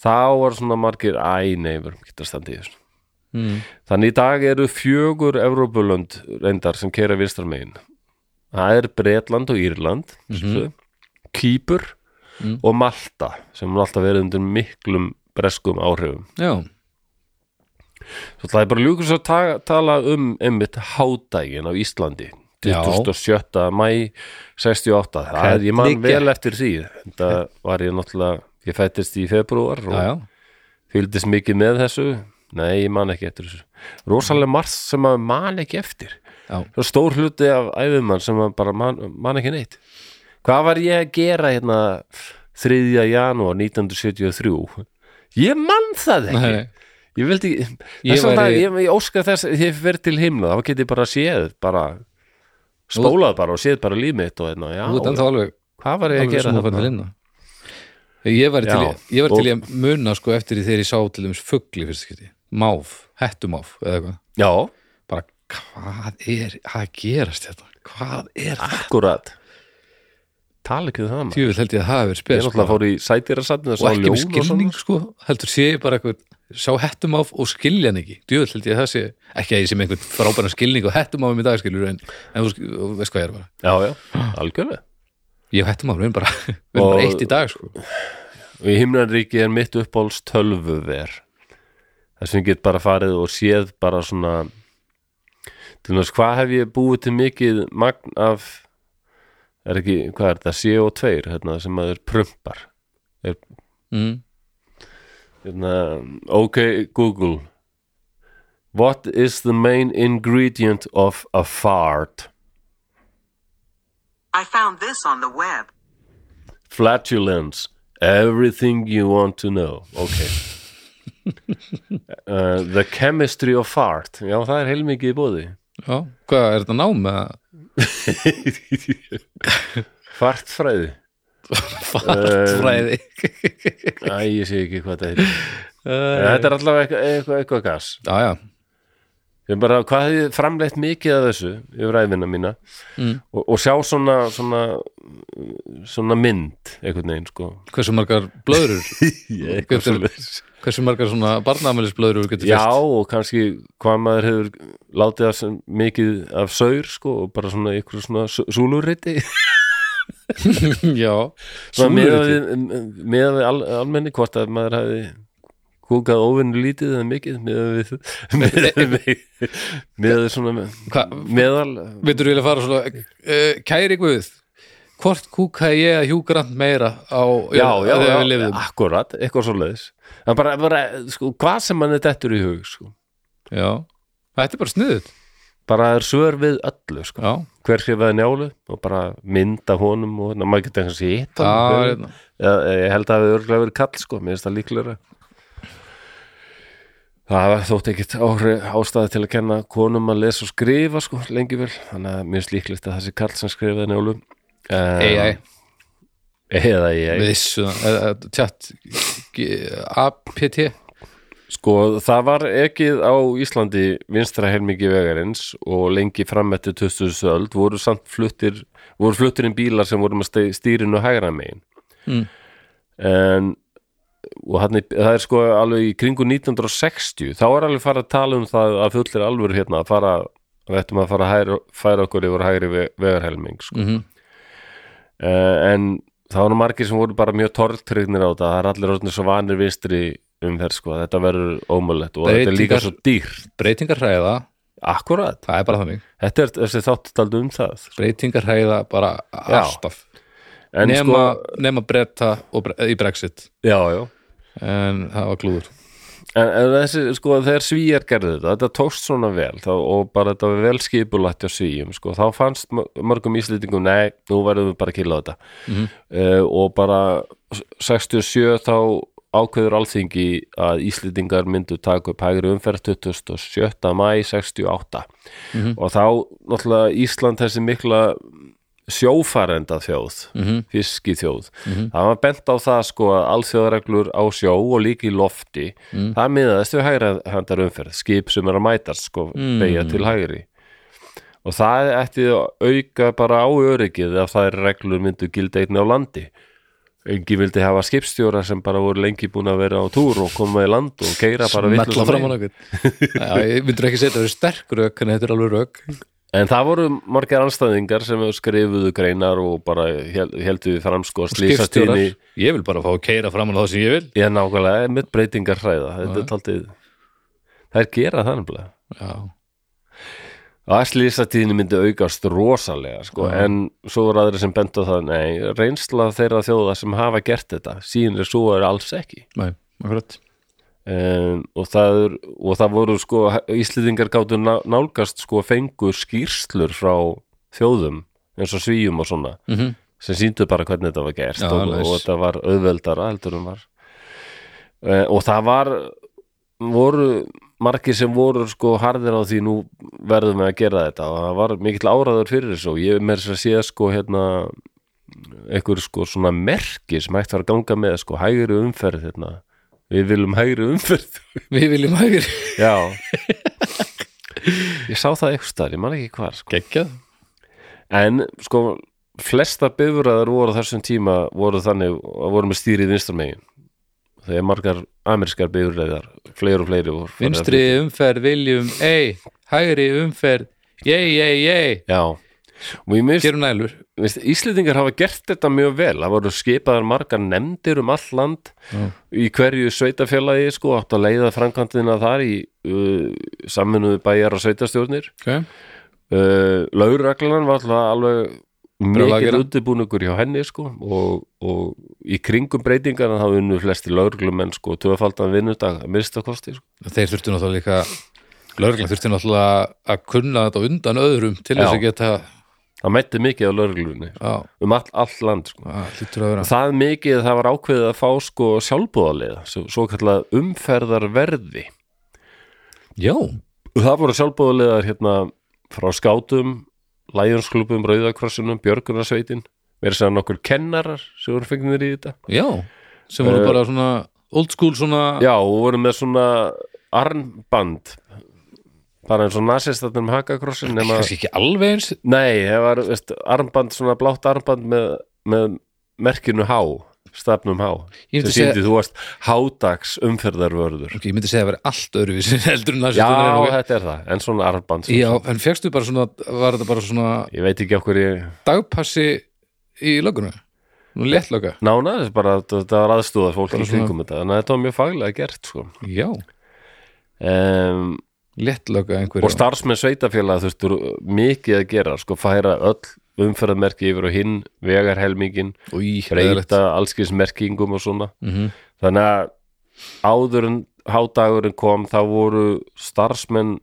þá var svona margir æ, nei, við erum ekki að standa í þessu
mm,
Þannig í dag eru fjögur Evrópulönd reyndar sem keira vinstarmegin. Það er Bretland og Írland, mm Kýpur og Malta sem hún alltaf verið undir miklum breskum áhrifum.
já,
Svo það er bara ljúkur svo að ta tala um einmitt hádægin á Íslandi.
Já.
27. mæ 68. Það er, ég man
Hvernig
vel eftir því. Þetta var ég náttúrulega, ég fættist í februar og
já, já
fylgdist mikið með þessu nei, ég man ekki eftir þessu rosalega margt sem maður man ekki eftir
Já.
Svo stór hluti af æfumann sem maður bara man, man ekki neitt hvað var ég að gera hérna 3. janúar 1973 ég man það ekki
Nei.
ég vildi
Ég
þess að
væri-
ég, ég óska þess að ég verð til himna þá get ég bara séð bara spólað bara og séð bara líf mitt og hérna, já,
þú ert ennþá alveg
hvað var ég að
alveg
gera hérna?
svona fann til
þarna?
inna ég var til,
Já,
í- ég var til í
og-
að muna sko eftir því þegar ég sá til þeim fugli fyrst skipti, máf, hettumáf eða eitthvað,
já,
bara hvað er að gerast þetta, hvað er hérna? það
akkurat tala ekki um það maður.
Tjöfull held ég að það hafi verið
Ég
spes
er náttúrulega fór í sætýrasatni og
og
sá
ekki um
ljón
með
og
skilning
svona.
sko, heldur sé ég bara eitthvað sjá hettum áf og skilja hann ekki djöfull held ég að það sé, ekki að ég sé með einhvern frábæran skilning og hettum áfum í dag skilur en, en þú sk- þú veist hvað ég er bara
Já, já, algjörlega.
ég og hettum áfum, við erum bara, við erum bara
Og-
eitt í dag sko.
Og í himnaríki er mitt uppáhalds tölvuver. Þess vegna get bara farið og séð bara svona til náttúrulega hvað hef ég búið til mikið magn af er ekki, hvað er þetta, CO2 hérna, sem maður prumpar.
mm.
Hérna, ok, Google. What is the main ingredient of a fart?
I found this on the web.
flatulence everything you want to know ok uh, the chemistry of fart já það er heilmikið í bóði
já, hvað er þetta nám með
fartfræði Eh,
fartfræði
æ ég sé ekki hvað þetta heitir En þetta er allavega eitthvað, eitthvað, eitthvað gas
já, já,
ég bara hvað hef ég framleitt mikið af þessu yfir æfina mína
Mm.
og, og sjá svona svona, svona mynd einhvern veginn sko
hversu margar blöður
ég,
Getur- hversu margar svona barnaamælisblöður getur
Já
fyrst
og kannski hvað maður hefur látið af sem, mikið af saur sko og bara svona ykkur svona súlurriti
já,
með
Súluriti.
að við al, almenni hvort að maður hefði kúkað óvinnu lítið eða mikið með að við með að við svona
Hva-
meðal
Vindur vilja fara svona uh, Kæri Guð Hvort kúkaði ég að hjúgrant meira á,
já, já,
þegar við
já,
lifðum
akkurat, eitthvað svo leiðis bara, bara, sko, hvað sem mann er dettur í hug sko.
Já, þetta er bara sniðut
bara er svör við öllu sko.
Já,
hver skrifaði njálu og bara mynda honum og ná, maður getur kannski hitt
það
hann
er
hver-
hérna.
Já, eh, ég held að það hefur örglega verið kall sko, mér finnst það líklega Það var þótt ekkert áhrif- ástæði til að kenna konum að lesa og skrifa sko, lengi vel, þannig að mér finnst líklegt að þessi kall sem skrifaði njólu um,
AI,
Eða ég,
við þessu Tjátt APT
sko, það var ekið á Íslandi vinstra helmingi vegarins og lengi fram eftir 2000 öld voru samt fluttir voru fluttirinn bílar sem voru með ste- stýrinu hægra megin
Mm.
en og hann, það er sko alveg í kringu 1960 þá er alveg farið að tala um það að fullir alvöru hérna að fara við ættum að fara að hæra, færa okkur yfir hægri ve- vegarhelming sko.
Mhm.
Eh, en það var nú margir sem voru bara mjög tortrygnir á þetta það er allir orðnir svo vanir vinstri um þér sko, þetta verður ómulett og þetta er líka
Breytingar-
svo dýrt
Breytingarhæða,
Akkurat,
það er bara þannig
þetta er þessi þáttaldi um það
Breytingarhæða bara
Já.
alltaf
en
nema,
sko,
nema breyta og bre í Brexit
já, já
En það var klúður
En, en þessi, sko, þegar svíjar gerðu þetta, þetta tókst svona vel þá, og bara þetta var vel skipulætt á svíjum, sko, þá fannst mör- mörgum íslendingum, nei, nú verðum við bara að kýla á þetta
Mhm.
uh, og bara 67 þá ákveður alþingi að Íslendingar myndu taka upp hægri umferð 27. mæ 68 og þá, náttúrulega, Ísland þessi mikla sjófarenda þjóð
Mhm.
fiskiþjóð það var bent á það sko að alþjóðareglur á sjó og líka í lofti það miðaðist við hægra handar umferð skip sem er að mætast sko
Mm.
beigja til hægri og það ætti að auka bara á öryggið ef það er reglur myndu gilda einni á landi engi vildi hafa skipstjóra sem bara voru lengi búin að vera á túr og koma í land og keira bara
Mella
vitlausa
fram á
megin.
nokkuð Já, ég myndur ekki setja þau sterk rök en þetta er alveg rök
En það voru margar anstæðingar sem skrifuðu greinar og bara hel- heldu fram sko
skipstjórar,
slýsastíni
ég vil bara fá að keira fram á það sem ég vil
Já, nákvæmlega, með breytingar hræða Þetta er taldið Þær gera það nefnilega
já,
Að slýsatíðin myndi aukast rosalega sko.
Já.
en svo er aðri sem bentu á það nei, reynsla þeirra þjóða sem hafa gert þetta síðan er svo er alls ekki
næ, akkurat
um, og, það er, og það voru sko Íslendingar gáttu ná- nálgast sko fengu skýrslur frá þjóðum eins og svíjum og svona
mm -hmm.
sem síndu bara hvernig þetta var gert
Já,
og,
nice.
og þetta var auðveldara heldur um var uh, og það var voru margir sem voru sko harðir á því nú verðum við að gera þetta og það var mikill áraður fyrir þessu og ég með þess að sé sko hérna einhver sko svona merki sem hægt var að ganga með sko hægri umferð hérna við viljum hægri umferð
við viljum hægir
já ég sá það eitthvað, ég man ekki hvar sko
geggjað
en sko flesta bifræðar voru á þessum tíma voru þannig að voru með stýrið vinstra megin þegar margar amerískar bifræðar fleiri og fleiri voru farið að
vinstri
flytja.
umferð, viljum, ei hægri umferð, ei, ei, ei
já og ég minnst
gerum nælur
Veist, Íslendingar hafa gert þetta mjög vel það voru skipaðar margar nefndir um all land í hverju sveitafélagi sko, átt að leiða framkvæmdina þar í uh, samvinnuðu bæjar og sveitastjórnir
okay.
uh, lauraglan var alltaf alveg
að
mikil
gera.
undirbúningur hjá henni sko, og, og í kringum breytingarna þá unnu flesti lauruglumenn sko, tvöfaldan vinnudag að minnsta kosti sko.
þeir þurftu náttúrulega líka lögreglan þurftu náttúrulega að kunna þetta á undan öðrum til þess
Já.
að geta
það mætti mikið á lauruglunni
á,
um all, all land sko.
á, lítur að vera
það mikið að það var ákveðið að fá sko sjálfbúðarlega svo, svo kallað umferðarverði
já,
og það voru sjálfbúðarlegar hérna frá skátum, Lionsklubum Rauðakrossunum, Björgunarsveitin verið sér nokkur kennarar sem voru fengnir í þetta
já sem voru
Eh,
bara svona old school svona
já og voru með svona armband bara eins og nasistatnum hakakrossin nema,
kannski ekki alveg eins
nei, það var veist, armband, svona blátt armband með, með merkinu H stafnum H,
Ég
sem
myndi segja-
síndi þú varst hádags umferðarvörður
ok, ég myndi segja að vera allt öðruvísi heldur en
Já,
nasistarnir eru, ok?
þetta er það, en svona armband
já, en fegstu bara svona var þetta bara svona
Ég veit ekki okkur ég
dagpassi í löguna nú létt löga
nána, þetta er bara, þetta var aðstúða fólk
Bara
í kringum þetta, þannig að þetta var mjög faglega gert sko.
já,
um,
létt löga
og
einhverjum
starfsmenn sveitafélag þurftur mikið að gera, sko, færa öll umferðarmerki yfir og hinn vegarhelmingin,
og í
breyta allskismerkingum og svona,
Mhm.
þannig að áður en hádagurinn kom, þá voru starfsmenn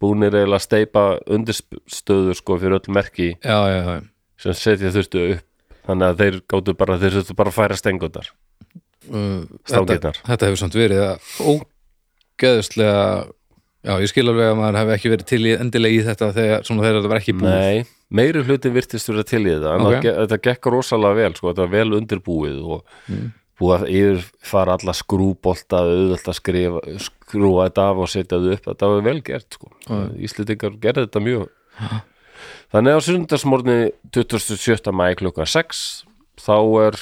búnir eiginlega að steipa undirstöður sko fyrir öll merki
já, já, já
sem setja þurftu upp þannig að þeir gáttu bara, þeir þurftu bara að færa stengutar
Uh, þetta,
Stangirnar.
þetta hefur samt verið að ógeðslega já, ég skil alveg að maður hefði ekki verið til í endilega í þetta þegar, svona þegar þetta var ekki búið
Nei, meiri hlutin virtist vera til í þetta en
Ok.
okay. þetta gekk rosalega vel sko, þetta var vel undirbúið og
Mm.
búið að yfirfara alla skrúbolta auðvöld að skrifa, skrúa þetta af og setja þetta upp, þetta var vel gert sko. Íslendingar gerði þetta mjög Þannig að á sundarsmórni 27. mæ klukkan 6 þá er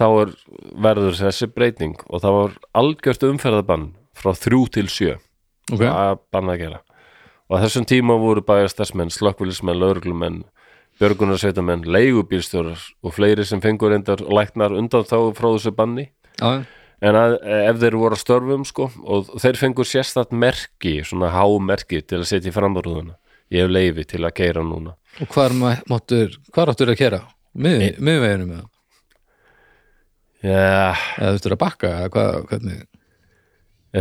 þá er verður þessi breyting og það var algjört umferðabann frá 3 til 7
ok,
að banna að gera og á þessum tíma voru bæjastarsmenn, slökkvilismenn, lauruglumenn björgunarsveitamenn, leigubílstjórar og fleiri sem fengur reyndar og læknar undan þá frá þessu banni
já,
en að, ef þeir voru að störfum sko, og þeir fengur sérstætt merki svona hámerki til að setja í framrúðuna ég hef leifi til að keira núna
og hvar ma- máttur hvar áttur að kera? miðveginum eða,
ja,
eða þú ert að bakka eða hvað, hvernig,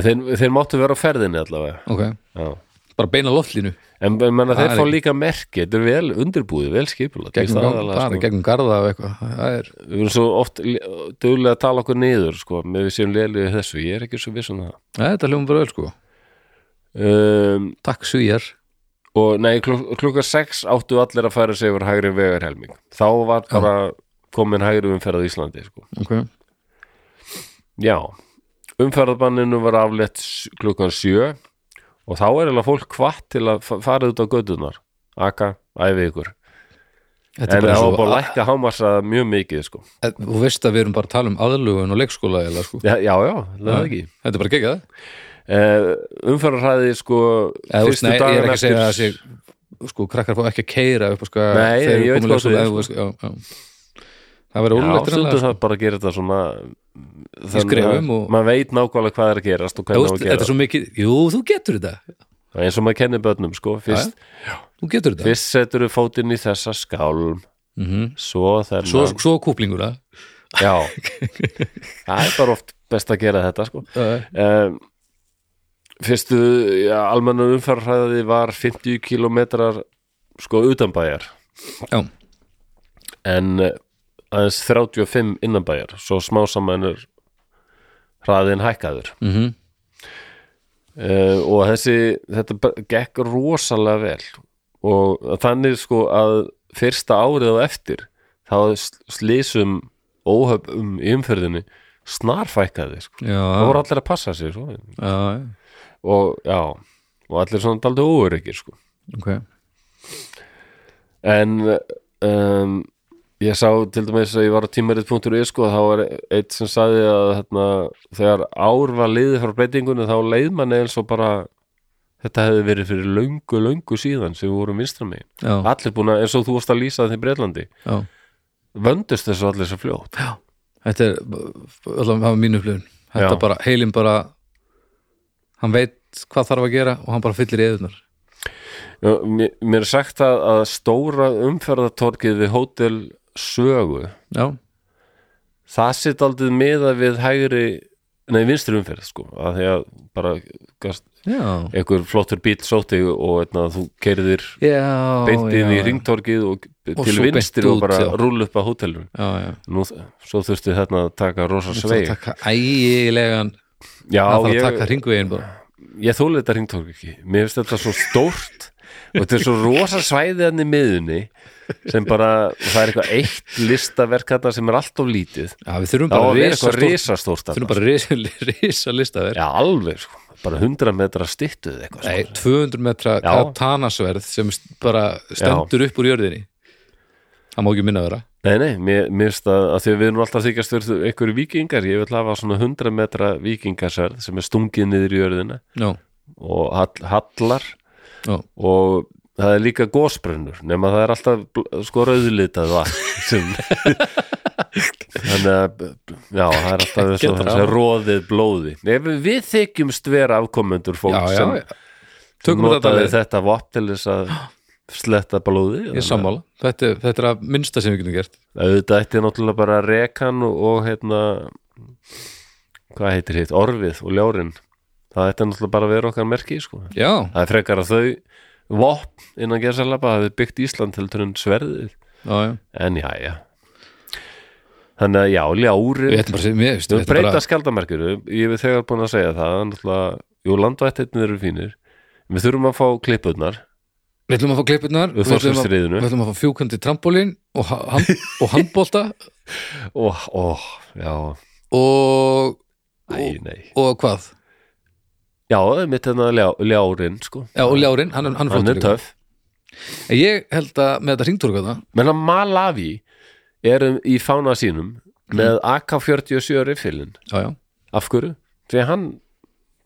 þeir, þeir máttu vera á ferðinni allavega
ok
Já.
bara beina loftlínu,
en ég meina,
Það
þeir
er
fá
ekki-
líka merki þetta er vel undirbúið, vel skipulagt Mér
gegnum,
finnst það
gang,
aðalega,
bara
sko.
gegnum garða og eitthvað, það er
við erum svo oft duglega að tala okkur niður sko, með við séum leiðlega þessu, ég er ekki svo viss um það
Nei, þetta hljóðum bara öll sko,
um,
takk svíjar
og nei, kluk klukka 6 áttu allir að færa sig yfir hægri vegarhelming þá var bara komin hægri umferð á Íslandi sko.
ok,
já, umferðabanninu var aflett s- klukkan 7 og þá er eða fólk hvatt til að fa- fara út á gödunar aka, æfi ykkur en
þetta er bara
það var
svo
bara að lækka hámarsa mjög mikið sko.
að- þú veist að við erum bara að tala um aðlugun og leikskóla eða sko,
já, já, já, það er ekki
þetta er bara geggjað
Uh, umferðarhæði sko
eða, þú veist, nei, ég er
dagana
ekki að segja að sig, sko, krakkar fá ekki að keira upp og sko,
Nei, ég
þeir eru
veit
komin
hvað þú
leikskóla,
er,
eða, þú veist, sko, já, já. það verður
Já,
ólega
stundum það bara að gera þetta svona þannig að
sko. skrefum og-
maður veit nákvæmlega hvað er að gerast og
Þú
hvernig á
veist,
að
þetta
gera
er svo mikið, jú, þú getur þetta
það er eins og maður kennir börnum sko fyrst,
þú getur þetta
fyrst setur þú fótinn í þessa skálm
Mhm.
svo þennan
svo, sko. svo kúplingur það
já það er bara oft best að gera þetta sko
Já,
um, fyrstu já, almennar umferðarhæði var 50 kilometrar sko utanbæjar
já,
en eh, aðeins 35 innanbæjar svo smá saman er hraðin hækkaður
mhm,
uh, og þessi, þetta bara gekk rosalega vel og þannig sko að fyrsta árið á eftir þá sl- slysum óhöfum í umferðinni snarfækkaði sko.
já,
það voru allir að passa sig svo.
já,
og já og allir svona daldi óuryggir sko.
ok
en eh, um, ég sá til dæmis að ég var á tímarit.is sko, þá var eitt sem sagði að hérna, þegar ár var liðið frá breytingunni þá leið manni eins og bara þetta hefði verið fyrir löngu, löngu síðan sem við vorum vinstra megin
já,
allir búin að, eins og þú varst að lýsa því Breitlandi
já.
vöndust þessu allir svo fljótt
þetta er allavega hafa mínu upplifun þetta
Já.
bara, heilin bara hann veit hvað þarf að gera og hann bara fyllir eðunar
Já, mér, mér er sagt að, að stóra umferðatorkið við hótel sögu
já,
það sitt aldrei meða við hægri nei vinstri umferð sko að því að bara gast,
já,
einhver flottur bíl sótti og eitna, þú keirðir
já
beint inn í
já,
ringtorkið og
Og
til
svo beint
vinstri og
út,
bara
já.
rúla upp á hótelum
já, já.
Nú, svo þurfti þarna að taka rosa
það þarf
sveig
að taka ægilegan
Já,
það þarf að
ég,
taka ringvegin bara
ég þóla þetta ringtork ekki Mér finnst þetta svo stórt og þetta er svo rosa svæðið hann í miðunni sem bara, það er eitthvað eitt listaverk þarna sem er allt of lítið
já, við þurfum
Það á
bara
að vera
risastórt-
eitthvað risastórt
þurfum
þarna
bara risa, risa listaverk
Já, alveg, sko, bara 100 metra styttuð eitthvað
Nei,
sko.
200 metra
Já.
katanasverð sem st- bara stendur upp úr jörðinni það má ekki minna vera
Nei, nei, mér, mér finnst að, að því að við erum alltaf þykjast verið einhverju vikingar, ég vil hafa svona 100 metra vikingasverð sem er stungið niður í jörðina
já,
og hall, hallar
já,
og það er líka gósbrennur nema það er alltaf bl- sko rauðlitað vatn sem þannig að já, það er alltaf þessu,
Getur
þessu
það.
roðið blóði Nei, við, við þykjumst vera afkomendur fólk
já, já,
sem
já. tökum þetta
notaði
leið
þetta vopn til þess að sletta blóði
ég er sammála, þetta, er- þetta er að minnsta sem við getum gert
auðvitað ætti náttúrulega bara rekan og, og hérna hvað heitir hitt, orfið og ljórin það ætti náttúrulega bara að vera okkar merki sko.
já,
það er frekar að þau vopn innan gerðsalapa hafið byggt Ísland heldur en sverðið
já, já
en já, já þannig að já, ljári
Við ættum bara að segja, mér veist,
Við
þetta er
breyta
bara
bara... skaldamerkjur, ég hef þegar búin að segja það, það er náttúrulega, jú, landvættirnir eru fínir, en við þurfum að fá klippurnar,
Við ætlum að fá klippurnar,
Við
við ætlum að,
Þorsteinsstríðinu.
við ætlum að fá fjúkandi trampolín og, ha- hand, og handbolta
ó, ó, já,
og,
æ, nei,
og hvað?
já, mitt hérna ljá, ljárinn, sko,
Já, og Ljárin, hann, er-
hann
hann er
er
flottur líka.
töff,
En Ég held að með þetta hringtorka það
menn að Malawi er um- í fána sínum með AK-47 riffilinn,
Já, já,
af hverju? Því að hann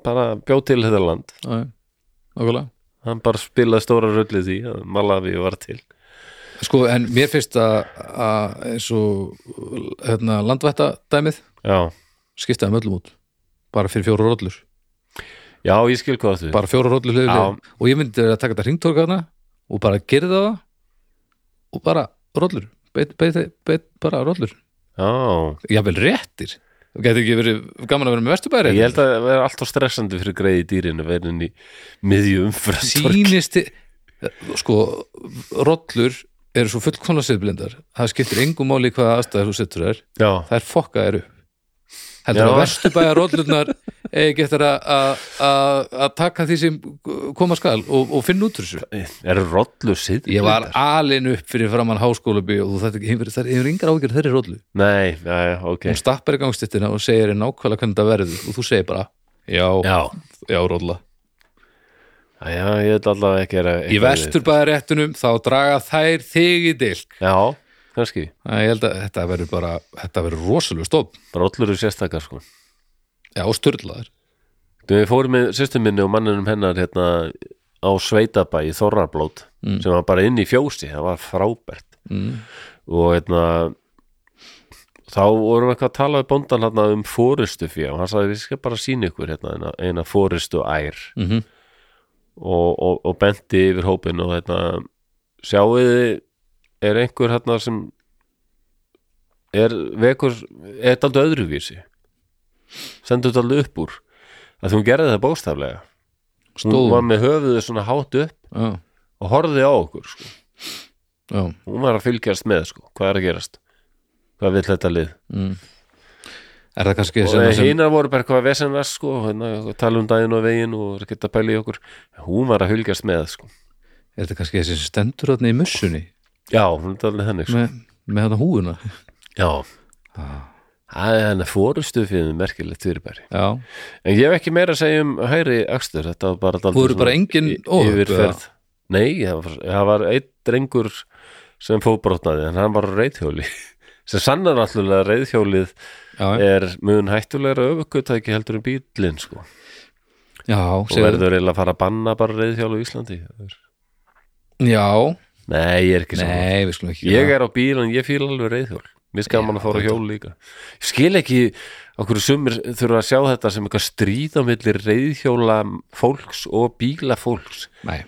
bara bjóð til þetta land,
já, já, nákvæmlega
hann bara spilaði stóra rullið því að Malawi var til.
Sko, en mér finnst að, að eins og hérna, landvætta dæmið
Já,
skiptaði möllum út bara fyrir fjóra rollur,
já, ég skil hvað þú.
bara fjóra rollur hlið,
Já.
hlið. og ég myndi að taka þetta hringtorka þarna og bara gerða það og bara rollur beit, beit, beit, bara rollur
Já,
jafnvel réttir það getur ekki verið gaman að vera með vesturbæri
Ég held að það er alltaf stressandi fyrir greiði dýrin að vera inn í miðju umframtork
sínisti sko, rollur eru svo fullkomlega siðblindar það skiptir engum máli í hvaða aðstæður þú setur þær
Já,
það er fokka eru heldur
Já.
að vesturbæja rollurnar eigi getur að að- að taka því sem koma skal og, og finna út úr þessu
er rollu sitt
ég var alin upp fyrir framann háskólabi og þú þetta ekki, hefur, það hefur yngar ágjör þeirri rollu
Nei, já, ok
hún stappar í gangstittina og segir þér nákvæmlega hvernig það verður og þú segir bara, já, já,
Já,
rolla
já ég held allavega ekki að
í vesturbæðaréttunum þá draga þær þig í dilk
Já, kannski,
Æ, ég held að þetta verður bara þetta verður rosalega stóp
rollur eru sérstakar sko
já, og styrlaðar
Þú, Við fórum með systur minni og manninum hennar hérna á Sveitabæ í Þorrablót sem var bara inn í fjósi, það var frábært
mm.
og hérna þá vorum við eitthvað að tala við bóndan hérna um fórustu og hann sagði við skal bara sína ykkur hérna eina, eina fórustu ær
Mm -hmm.
og, og, og benti yfir hópin og þetta sjáuði er einhver hérna sem er vekur er þetta aldrei öðruvísi sendur þetta aldrei upp úr að hún gerði það bóstaflega hún var
stóðum
með höfuðu svona hátt upp
já,
og horfði á okkur sko.
já,
hún var að fylgjast með sko. hvað er að gerast hvað vill þetta lið
mm. er það kannski
og
sem,
sem...
sem,
hinar voru bara eitthvað vesenast sko, hérna, tala um daginn og veginn og er ekkert að pæla í okkur hún var að fylgjast með sko.
er það kannski þessi sem stendur þarna í mussunni
já, hún er alveg þannig sko.
með, með þetta húuna
Já Ah. Það er henni fórustu fyrir merkilegt fyrirbæri
já,
En ég hef ekki meira að segja um hægri akstur Þetta var bara daldið
Voru bara engin óhöpp,
yfirferð Nei, það var, það var einn drengur sem fóbrotnaði en hann var á reyðhjóli sem sannar náttúrulega að reyðhjólið
já,
er mun hættulegra öfukutæki heldur en bílinn sko
já,
og
segðu-
verður eiginlega að fara að banna bara reyðhjól á Íslandi Það er-
já,
Nei, ég er ekki saman
nei, við skulum ekki
Ég
gera
er á bíl en ég fíla alveg reyðhjól Mér skal mann að fara á hjól líka Ég skil ekki okkur sumir þurfa að sjá þetta sem eitthvað stríð á milli reyðhjóla fólks og bíla fólks
það. nei,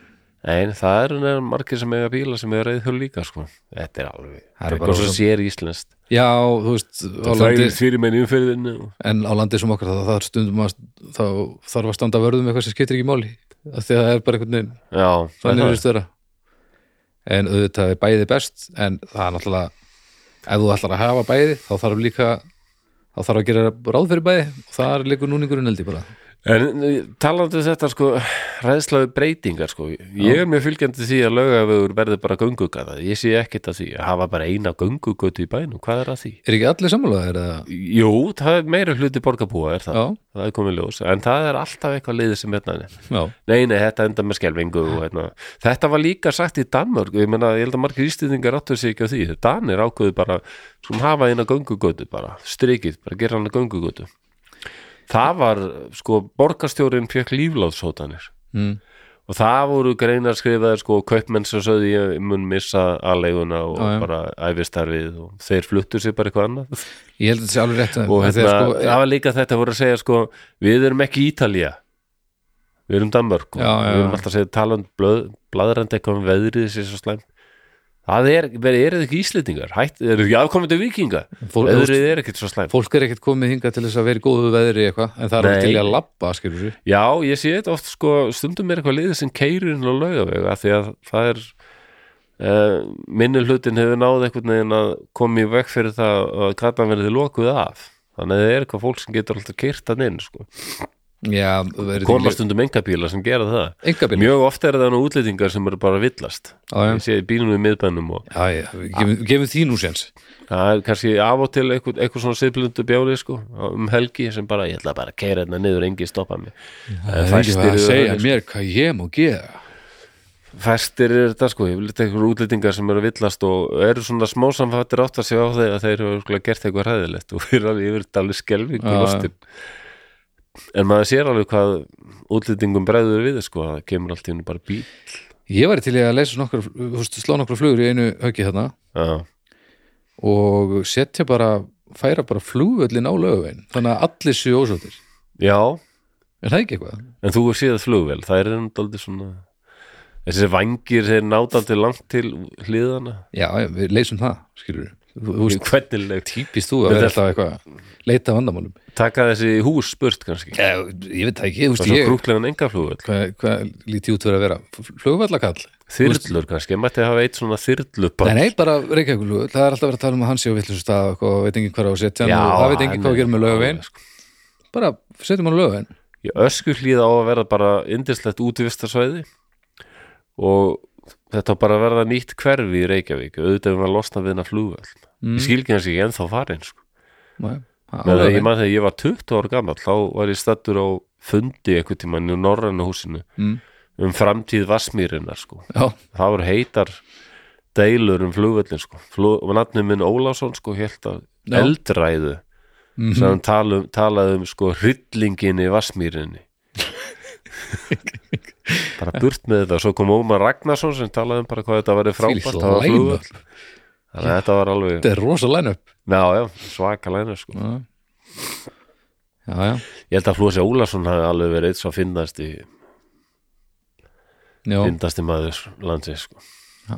Nei, það eru nefnir margir sem eiga bíla sem eiga reyðhjól líka sko. Þetta er alveg
Það
Það
eru
er
bara
eitthvað svo
svo-
sér íslenskt
já, þú veist á landi,
Þvælir fyrir menn umfyrðinu
en á landi sem okkar það, það er stundum að þá þarf að standa vörðum eitthvað sem skiptir ekki máli af því að það er bara einhvern veginn
Já, það
þannig
er
verðist vera en auðvitað er bæði best en það er náttúrulega ef þú ætlar að hafa bæði þá þarf líka þá þarf að gera ráð fyrir bæði og það er líka núningurinn held ég bara
En eh, talandi um þetta sko ræðslaðu breytingar sko ég er mjög fylgjandi því að laugavögur verður bara göngugata, ég sé ekkit að því að hafa bara eina göngugötu í bænum, hvað er að því?
er ekki allir sammálaðir eða?
Jú, það er meira hluti borgarbúa er það,
já,
það er komið ljós en það er alltaf eitthvað liðið sem hérna
já,
nei, nei, þetta enda með skelvingu og, hérna. þetta var líka sagt í Danmörk ég meina, ég held að margir ístýðingar áttur sig ekki á því Danir ákveðu bara, skulum hafa eina göngugötu bara, strikið, bara gera hana göngugötu það var, sko, borgarstjórin fekk lífláðsótanir
Mm.
og það voru greinar skrifaðir sko, kaupmenn sem sögðu ég mun missa aðleiguna og
Já, já.
bara æfistarfið og þeir fluttu sér bara eitthvað annað
ég held að þetta sé alveg rétt
og
en
hérna,
þegar sko,
það var líka þetta voru að segja sko, við erum ekki Ítalía við erum Danmörk og
Já,
við
já, já.
erum alltaf að segja talan blöð, bladrandi eitthvað um veðrið sér svo slæmt það er, verið, eru þið ekki íslendingar hætt, eru þið ekki afkomendu vikinga
Fólk-
veðrið er ekkert svo slæmt
fólk er ekkert komið hingað til þess að vera í góðu veðri eitthvað en það er
Nei.
alveg til í að labba skilur við
já, ég sé þetta oft sko, stundum er eitthvað liðið sem keirurinn og laugavega því að það er Uh, minni hlutin hefur náð einhvern veginn að koma í veg fyrir það að gatan verði lokuð af þannig að það er eitthvað fólk sem getur alltaf kyrtan inn sko.
já, verið
koma stundum engabíla sem gera það
engabinn já,
mjög ofta er það nú útlýtingar sem eru bara að villast
já,
ég sé í bílum við miðbænum og
já, já, við gefum- gefum því nú séns
það er kannski af og til eitthvað, eitthvað svona siðblindu bjáli sko, um helgi sem bara, ég ætla bara að keira hérna niður engi stoppa mig En
það er ekki
fæstir
að
eru
segja
þannig,
mér hvað ég má gera
sko. fæstir er þetta sko, ég vil þetta eitthvað útlýtingar sem eru að villast og eru svona smá samfættir átt að sjá á þeir að þeir eru örugglega gert eitthvað hræðilegt og er alveg yfir alveg skelfing
Já,
og
já.
lostin en maður sér alveg hvað útlýtingum bregður við sko, að það kemur allt í hennu bara bíl
ég væri til í að leysa nokkra, þú veist, slá nokkra flugur í einu höggi þarna
já,
og setja bara færa bara flugvöllin á lögvein þannig að allir séu ósóttir
já
er það ekki eitthvað?
En þú hefur séð flugvél, það er enn daldið svona Þessi vangir þeir nátandi langt til hliðana
Já, já, við leysum það, skilur þú þú veist,
Hvernig leik
típist þú
Þetta
að vera
er-
alltaf eitthvað leita að vandamálum
Taka þessi hús spurt kannski
Já, ég veit það ekki, þú
Og
veist
svo
ég
krúklegan enga flugvél
hvað, hvað lítið út verið að vera flugvallakall?
Þyrlur kannski, ég mætti hafa eitt svona þyrluball
Nei, nei, bara Reykjavíkulug, það er alltaf verið að tala um að hann sé á vittlusum stað og eitthvað og veit engin hvar á að setja hann og það veit engin hvað að gera með lögvein bara setjum hann á lögvein
sko, Í ösku hlýða á að verða bara indislegt útivistarsvæði og þetta á bara að verða nýtt hverfi í Reykjavík auðvitað um að losna við hennar flugvél
Mm.
Ég skil ekki hans ekki ennþá farin sko.
Nei, á
Men ég
Laugavein.
man þegar ég var 20 ára gammal þá var ég stattur á fundi einhvern tímann í Norræna húsinu
Mm.
um framtíð Vassmýrinnar sko.
Já,
það voru heitar deilur um flugvöllin sko. Flug, og nafnum minn Ólásson sko, held að
Já.
eldræðu
Mhm.
sem hann tala um, talaði um sko, hryllingin í Vassmýrinni bara burt með þetta svo kom Ómar Ragnarsson sem talaði um bara hvað þetta væri
Þvílíkt
frábært að hafa
line-up.
flugvöll þannig að þetta var alveg
þetta er rosa line-up
já, já, svaka læna sko.
Já, já, já.
Ég held að Flósi Ólason hafi alveg verið eitt svo finnasti,
Já,
finnasti maður landsins sko.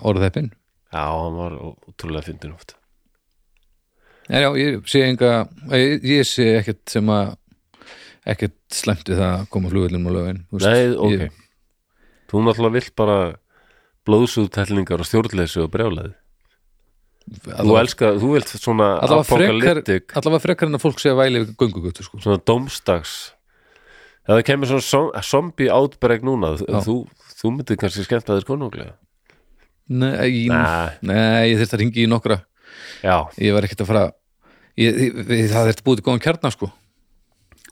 orðheppin
Já, hann var ó- ótrúlega fyndin oft
En já, ég sé enga ég, ég sé ekkert sem að ekkert slemt við það að koma flugvillum á lögin
Nei, ok
ég,
Þú náttúrulega vilt bara blóðsúðtællingar og stjórnleysi og brjálaði Þú
allavega,
elskar, þú vilt svona
allavega, frekar,
apokalyptik
allavega frekar en að fólk sé að væli göngugötu sko.
svona domstags Ef það kemur svona som- zombie outbreak núna
Já.
þú, þú myndir kannski skemmt að þér konunglega
Nei,
Nei.
nei, ég þurfti að ringi í nokkra
Já,
ég var ekkert að fara ég, ég, ég- það þurfti búið til góðan kjarnar sko.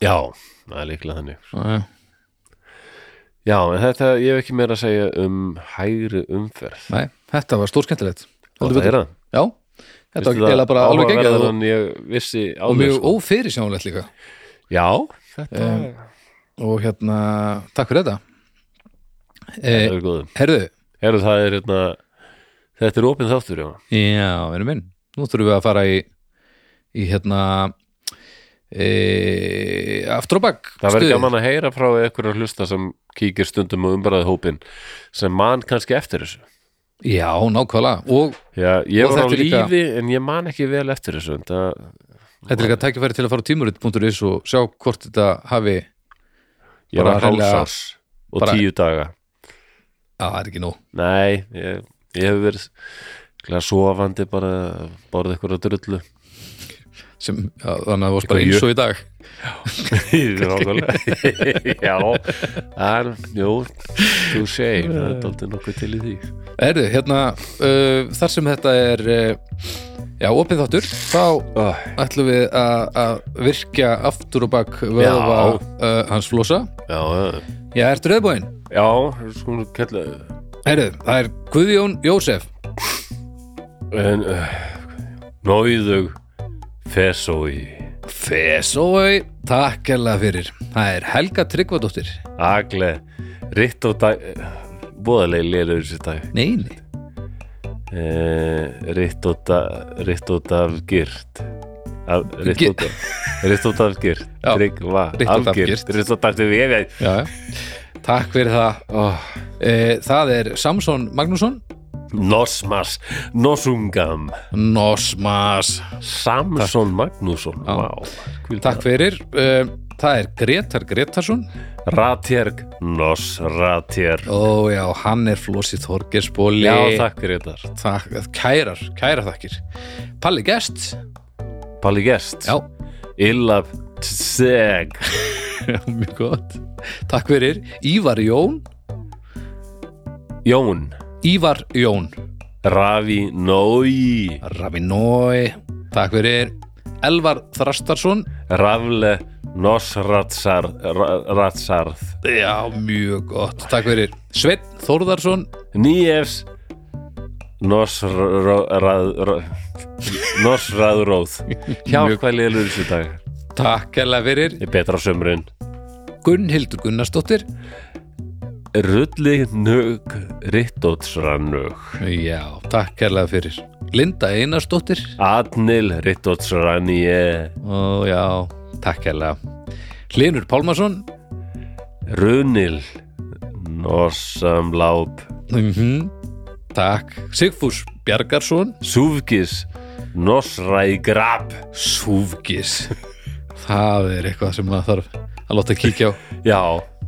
já, það er líklega þannig
Já, já.
Já, en þetta, ég hef ekki meira að segja um hægri umferð
Nei, þetta var stórskemmtilegt
Gott að heyra
Já, þetta
Finnst
var eiginlega bara alveg geggjað
áhugaverðara
og,
en ég vissi
og
áður
mjög
sko.
ófyrirsjánlegt líka
Já, Eh, þetta
Em, og hérna, takk fyrir þetta eh,
er góðum
Herðu,
Herðu, það er hérna Þetta er opið þáttur, já
já, verðum minn nú þurfum við að fara í í hérna e, aftur og bakk
Það verður
stuðið.
gaman að heyra frá ykkur að hlusta sem kíkir stundum og umræði hópin sem man kannski eftir þessu
Já, nákvæmlega og
Já, ég
Og
var á
þetta er
lífi
líka-
en ég man ekki vel eftir þessu en það,
þetta er líka tækifæri til að fara á tímurit.is og sjá hvort þetta hafi
ég
Bara
var
hreinlega-
hálsás og
bara-
tíu daga
að það er ekki nóg
Nei, ég, ég hef verið glæða sofandi bara borðið ykkur að drullu
sem, já, þannig að það varst bara
Eitthvað
eins og í dag
Nákvæmlega. Já, en jú þú segir, það er daldið nokkuð til í því
Erðu, hérna, uh, þar sem þetta er uh, já, opið þáttur þá
oh,
ætlum við að að virkja aftur og bak vöðva
Já.
uh, hans flosa
Já, já.
Já, ertu rauðbúinn?
já sko, kella
Erðu, það er Guðjón Jósef
en, uh, Nóðug Fesói
Fesói, takk erlega fyrir Það er Helga Tryggvadóttir
Agle Ritt og dag Bóðalegi lélur þessi dag
Nei, nei,
Eh, Ritt og dag Ritt og dag girt Af- Ritt
Gi-
og dag Ritt og dag girt
Já.
Tryggva
Ritt og Daf
Afgirt
Girt.
Ritt og dag til við
já, já Takk fyrir það oh. Það er Samson Magnússon
Nosmas Nosungam
Nosmas
Samson Magnússon
Já.
Vá, hvíl
Takk fyrir uh, Það er Gretar Gretarsson
það. Ratjerg Nos Ratjerg
Ó já, hann er Flósi Þorgersbóli
Já, takk fyrir þetta
Takk, kærar, kærar þakkir Palli Gest
Palli Gest
Já,
Illab Tseg
já mjög gott Takk fyrir Ívar Jón
Jón
Ívar Jón
Ravi Nói
Ravinói Takk fyrir Elvar Þrastarsson
Rafle Nosratsar Ra- Ratsarð
Já, mjög gott Takk fyrir Sveinn Þórðarsson
Níefs Nosraðróð Nosraðróð Hjálpæli elur þessu dag
Takk hella fyrir
er betra á sömrun
Gunnhildur Gunnarsdóttir
Rulli nög Rittótsranög
Já, takk hella fyrir Linda Einarsdóttir
Adnil Rittótsranje
Ó já, takk hella Hlinur Pálmarsson
Runil Nosamláb
mm Takk Sigfús Bjargarsson
Súfgis Nosrægrab
Súfgis Það er eitthvað sem maður þarf að láta kíkja á
Já,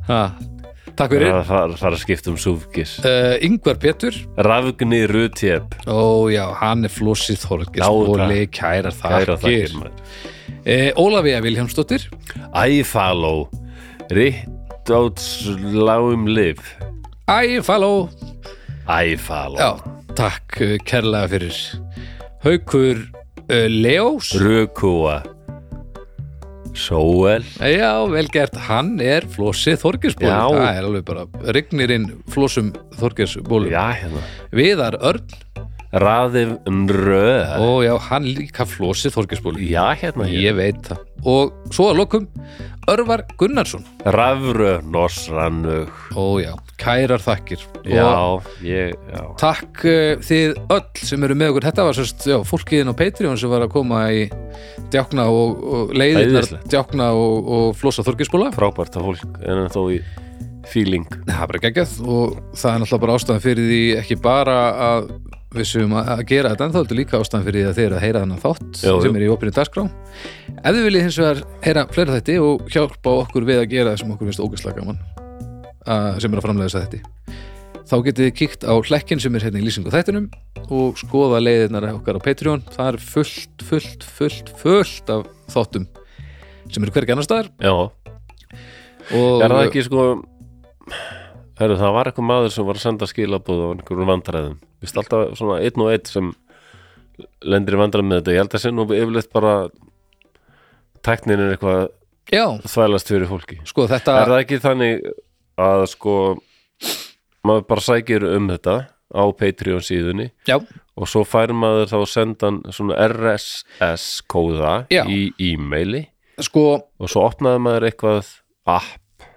ha. Takk fyrir
það fara að skipta um súfgis
uh, Yngvar Pétur
Rafni Rutjeb
Ó já, hann er flósið Þorgis
Já,
Óli, kærar
Kæra
þakkir
þakkir maður.
uh, Ólafía Vilhjámsdóttir
Æfaló Rittótsláum liv
Æ, falló
Æfaló
Já, takk uh, kærlega fyrir Haukur uh, Leós
Rökúa Sóel
Já, vel gert, hann er flósið Þorgisból
Já.
Það er alveg bara Rignir inn flósum Þorgisból
Já, hérna
Viðar Örn
Raðif Nrö
Ó já, hann líka flósið Þorgesbóli
Já, hérna
Ég veit það Og svo að lokum, Örvar Gunnarsson
Rafrö Nosranug
Ó já, kærar þakkir Og
Já, ég, já
takk uh, þið öll sem eru með okkur Þetta var sérst, já, fólkiðin á Patreon sem var að koma í djákna og, og leiðirnar
Æðislegt.
djákna og, og flósa Þorgesbóla
Frábært að fólk en þó í feeling
Það er bara geggjað og það er náttúrulega bara ástæðan fyrir því ekki bara að við séum að að gera þetta en þá er þetta líka ástæðan fyrir því að þeir eru að heyra þennan þátt
Jú, jú.
sem er í opinu dagskrá Ef þið viljið hins vegar heyra fleira þætti og hjálpa okkur við að gera það sem okkur finnst ógæslega gaman að, sem er að framlega þess að þætti þá getið þið kíkt á hlekkinn sem er hérna í lýsingu á þættinum og skoða leiðirnar okkar á Patreon það er fullt, fullt, fullt, fullt af þáttum sem eru hvergi annars staðar
Já,
og
er það ekki sko Hörru, það var eitthvað maður sem var að senda skilabúð á einhverjum vandræðum Vist alltaf svona einn og einn sem lendir í vandræðum með þetta Ég held að sé nú yfirleitt bara tæknin er eitthvað að
já,
þvælast fyrir fólki
sko þetta
Er það ekki þannig að sko maður bara sækir um þetta á Patreon síðunni
Já,
og svo fær maður þá sendan svona RSS kóða
Já.
í e-maili
sko
og svo opnaði maður eitthvað app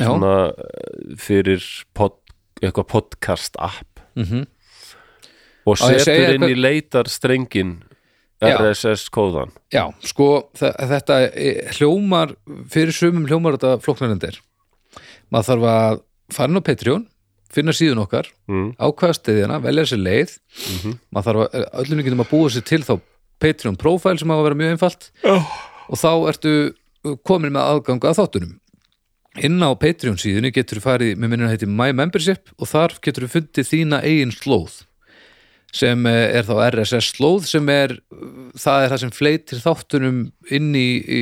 já,
svona eh, fyrir pod, eitthvað podcast app
mhm.
og
Á, ég að segja
setur inn
eitthvað-
í leitar strengin
Já.
RSS kóðan
já sko þe- þetta eh, hljómar fyrir sumum hljómar þetta flóknarendir maður þarf að fara inn á Patreon finna síðun okkar,
mm.
ákvaða stiðjana velja sér leið maður þarf að, eh, öllum getum að búa sér til þá Patreon profile sem á að vera mjög einfalt og þá ertu eh, komin með aðgang að þáttunum inn á Patreon síðunni getur þú farið með minnum heiti My Membership og þar getur þú fundið þína eigin slóð sem eh, er þá RSS slóð sem er, eh, það er það sem fleitir þáttunum inn í, í,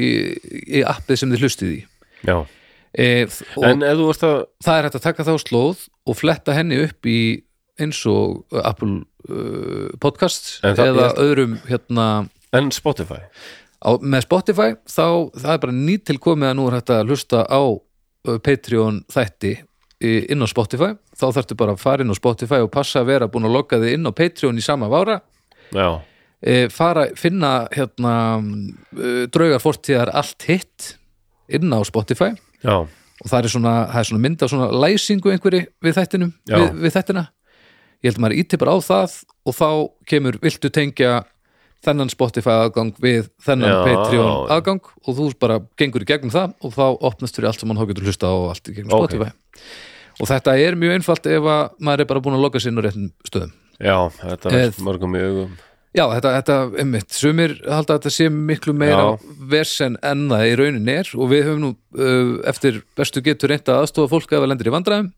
í appið sem þið hlustið í
Já,
e, og
en ef þú vorst að
það er hægt að taka þá slóð og fletta henni upp í eins og eh, Apple uh, podcast
En það-
eða
ég-
öðrum hérna
en Spotify
á, með Spotify þá það er bara nýtilkomið að nú er hægt að hlusta á uh, Patreon þætti í- inn á Spotify þá þarftu bara að fara inn á Spotify og passa að vera búin að logga þig inn á Patreon í sama vára
Já,
e, fara, finna hérna e, draugar fortíðar allt hitt inn á Spotify
já,
og það er svona, það er svona mynd af svona læsingu einhverju við þættinum
Já.
við, við þættina ég held að maður ítti bara á það og þá kemur, viltu tengja þennan Spotify aðgang við þennan
Já.
Patreon aðgang og þú bara gengur í gegnum það og þá opnast fyrir allt sem mann hókið til hlusta á og allt í gegnum
Ok.
Spotify og þetta er mjög einfalt ef að maður er bara búin að loka sér inn á réttum stöðum
já, þetta
Eh,
er mörgum í augum
Já, þetta, þetta, einmitt, sumir halda að þetta sé miklu meira versen en það í raunin er og við höfum nú uh, eftir bestu getur reynt að aðstofa fólk ef að lendir í vandræðum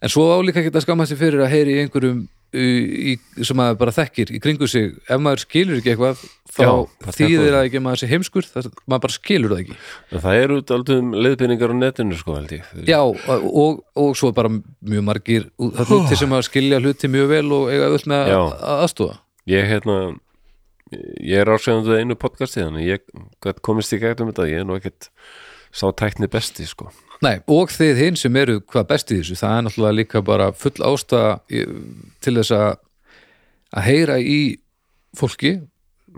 en svo álíka geta skammast sér fyrir að heyri í einhverjum í, í, sem maður bara þekkir í kringu sig, ef maður skilur ekki eitthvað þá
Já, það
þýðir
tekur-
það ekki að maður sé heimskur það, maður bara skilur það ekki
En það eru aldrei um leiðbyrningar á netinu sko held ég
Já, og, og, og svo bara mjög margir það hluti sem að skilja hluti mjög vel og eiga öll með
Já.
að að aðstofa
Ég hérna ég er ásvegandu einu podcasti þannig ég gat komist í gætum þetta ég er nú ekkert sá tækni besti sko
Nei, og þið hinn sem eru hvað best í þessu, það er náttúrulega líka bara full ásta til þess að að heyra í fólki,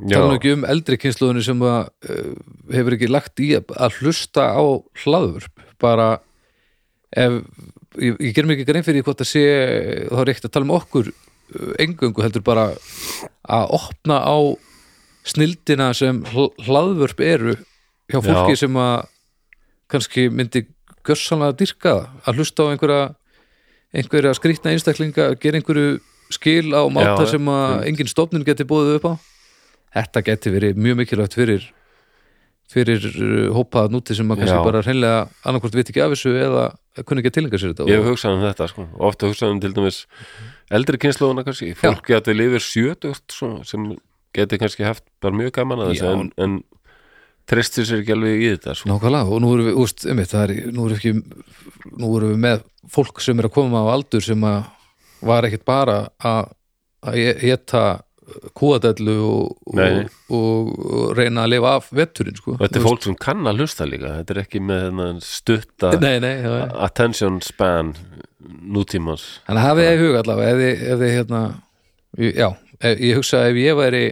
Já,
tala nú ekki um eldri kynsluðinu sem að uh, hefur ekki lagt í að, að hlusta á hlaðvörp, bara ef, ég, ég ger mér ekki grein fyrir því hvort að sé, þá er ekkert að tala um okkur uh, engöngu heldur bara að opna á snildina sem hl- hlaðvörp eru hjá fólki
Já.
sem að kannski myndi görsanlega dyrka það, að hlusta á einhverja einhverja skrýtna einstaklinga gera einhverju skil á máta
Já,
sem að engin stofnun geti búið upp á þetta geti verið mjög mikilvægt fyrir fyrir uh, hópa þarna úti sem að kannski
Já.
bara hreinlega annarkvort veit ekki af þessu eða kunni ekki að tilenga sér þetta
ég hef
og,
hugsað um þetta sko ofta hugsað um til dæmis eldri kynnslóðuna kannski, fólk getur lifir sjötugt svo, sem geti kannski haft bara mjög gaman að þessu
Já.
en, en tristir sér ekki alveg í þetta sko.
nákvæmlega og nú erum við, úst, um það er, nú erum við ekki nú erum við með fólk sem er að koma á aldur sem að var ekkit bara að að geta kúadellu og,
Nei.
og, og, og reyna að lifa af vetturinn sko.
og þetta
Þú
er
veist.
fólk sem kann að hlusta líka þetta er ekki með hérna, stutta
nei, nei, já, já.
attention span nútímans
Þannig að hafið það í huga allavega ef þið, ef þið hérna ég- já, ef, ég hugsa að ef ég væri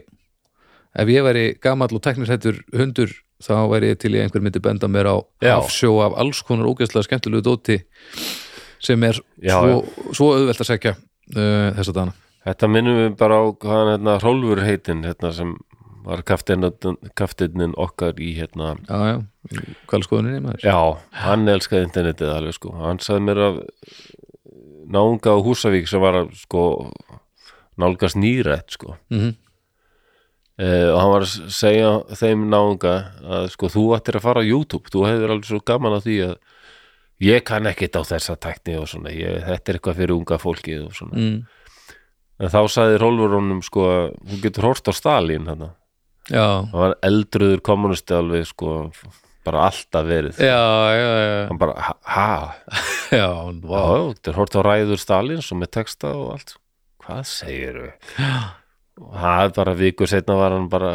ef ég væri gamall og teknisættur hundur þá væri ég til í að einhver myndi benda mér á
Já.
afsjó af alls konar ógeðslega skemmtilegu dóti sem er
Já,
svo, svo auðvelt að segja uh, þess að dana
Þetta minnum við bara á hvaðan hérna Hrólfur heitinn hérna sem var kaftinnin okkar í hérna
já, já, hvað er skoðuninni maður
Já, hann elskaði internetið alveg sko hann sagði mér af náunga á Húsavík sem var að sko nálgast nýrætt sko
mm
eh, og hann var að segja þeim náunga að sko þú ættir að fara á YouTube þú hefur alveg svo gaman að því að ég kann ekkit á þessa tækni og svona ég, þetta er eitthvað fyrir unga fólkið og svona
mm.
en þá sagði Hrólfur honum sko að hún getur hort á Stalin hann
já,
hann var eldruður kommunisti alveg sko bara alltaf verið
já, já, já
hann bara, ha, ha
já, vá.
wow. þetta er hort á ræður Stalins og með texta og allt hvað segir við og það er bara viku setna var hann bara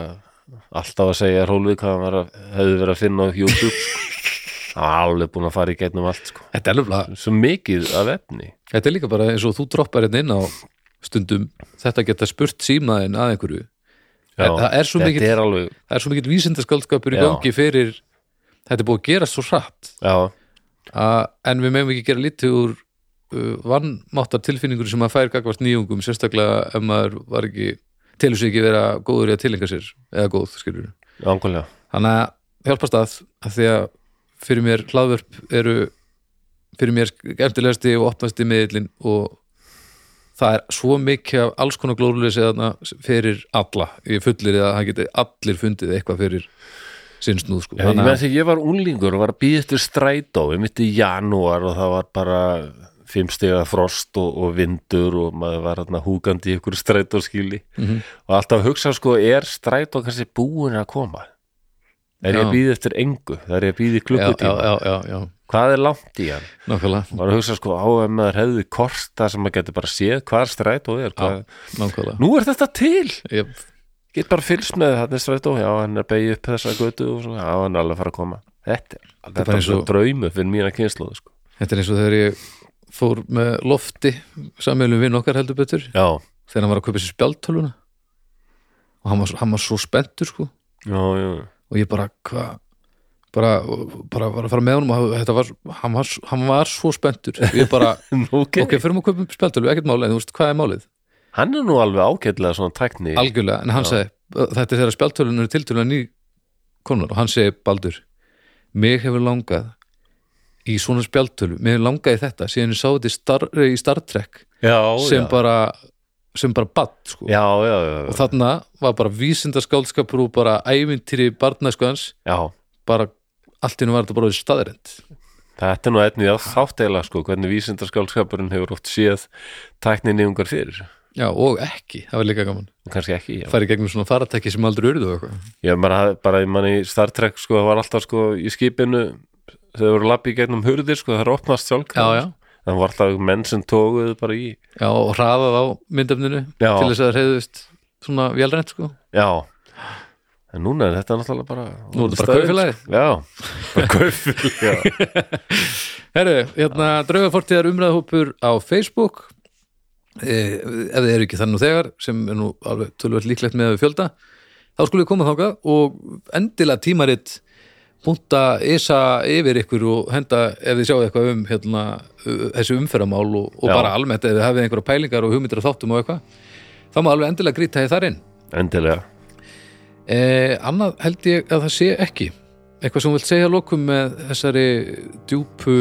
alltaf að segja Rólvik hvað hann var að, hefði verið að finna á YouTube sko. alveg búin að fara í gegnum allt sko.
Þetta er alveg
svo mikið af efni
Þetta er líka bara eins og þú droppar hérna inn á stundum þetta geta spurt símaðin að einhverju
Já,
það er svo mikill-
þetta er alveg
það er svo mikill vísindaskáldskapur í
Já.
gangi fyrir þetta er búið að gera svo hratt
já,
að, en við meðum ekki gera lítið úr uh, vannmáttar tilfinningur sem maður fær gagvart nýjungum sérstaklega ef maður var ekki telur sig ekki vera góður í að tilenga sér eða góð, skilur
angulega
þannig að hjálpast að, að því að fyrir mér hlaðvörp eru fyrir mér skemmtilegasti og opnasti miðlinn og það er svo mikið af alls konar glóruleysi þarna fyrir alla ég fullir að það geti allir fundið eitthvað fyrir sinnsnúð sko.
Já, ég
Þannig
með
að-
því ég var unglingur og var að býða eftir strætó ég mitt í janúar og það var bara fimm stiga frost og, og vindur og maður var hérna húkandi í ykkur strætóskíli
Mhm.
og alltaf hugsa sko, er strætó kannski búin að koma? Er ég
Já.
að býða eftir engu? Það er ég að býða í
já, já,
klukkutíma?
já, já, já,
Hvað er langt í hann?
nákvæmlega
Var að hugsa sko á ef maður hefði korta sem maður getur bara séð hvað strætó er hvað...
já, nákvæmlega
Nú er þetta til!
ég,
get bara fylgst með þetta strætó já, hann er beigð upp þessa götu og svona, já, hann er alveg að fara að koma þetta, er- þetta
bara
er
eins
svo
og-
draumu fyrir mína kynsluð sko.
þetta er eins og þegar ég fór með lofti sammeilum vinn okkar heldur betur
já,
þegar hann var að kaupa sér spjaldtöluna og hann var, svo- hann var svo spenntur sko
já, já
og ég bara hvað bara, bara var að fara með honum og þetta var, hann, var, hann var svo spenntur ég bara,
ok,
ok, fyrir maður kaupum spjaltölu ekkert málið, en þú veist, hvað er málið?
hann er nú alveg ágætlega svona tækni
algjörlega, en hann sagði, þetta er þegar spjaltölun eru tiltölulega ný konar og hann segi, Baldur mig hefur langað í svona spjaltölu, mig hefur langað í þetta síðan ég sá þetta í Star, í Star Trek
já,
sem
já.
bara sem bara badd, sko
já, já, já,
og
já.
þarna var bara vísindaskáldskapur og bara ævintýri barnæskuðans
já
bara allt í hennu var þetta bara staðrind
þetta er nú einnig að þáttela sko, hvernig vísindaskálskapurinn hefur oft séð tækninni ungar fyrir
Já, og ekki, það var líka gaman
Og kannski ekki, já
Færi gegnum svona faratæki sem aldrei urðu og eitthvað
ég bara, bara ég manni í Star Trek sko, það var alltaf sko í skipinu þau voru lappi í gegnum hurðir sko, það er opnast sjálfkrafa
Já, já.
það var alltaf menn sem tóguðu bara í
Já, og hraðað á myndefninu
Já.
til þess að það reyðust svona vélrænt sko
Já En núna er þetta náttúrulega bara
Nú er þetta bara kaupfélagið.
Já, bara kaupfélagi já.
Herru, hérna draugafortíðar umræðhópur á Facebook eh, ef þið eru ekki þannig þegar sem er nú alveg tölvöld líklegt með að við fjölda þá skulum við koma þangað og endilega tímarit punta isa yfir ykkur og henda ef þið sjáu eitthvað um hérna, uh, þessi umferðamál og, og
Já.
bara almennt ef þið hafið einhverja pælingar og hugmyndir og þáttum og eitthvað þá má alveg endilega grýta í þar inn
Endilega
Eh, annað held ég að það sé ekki eitthvað sem þú vilt segja að lokum með þessari djúpu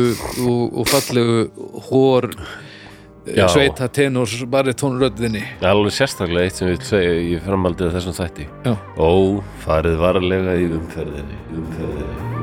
og, og fallegu hór
Já.
sveita tenors baritónröddinni
Alveg sérstaklega eitt sem við segja í framhaldið af þessum þætti
Já.
Ó, farið varlega í umferðinni Umferðinni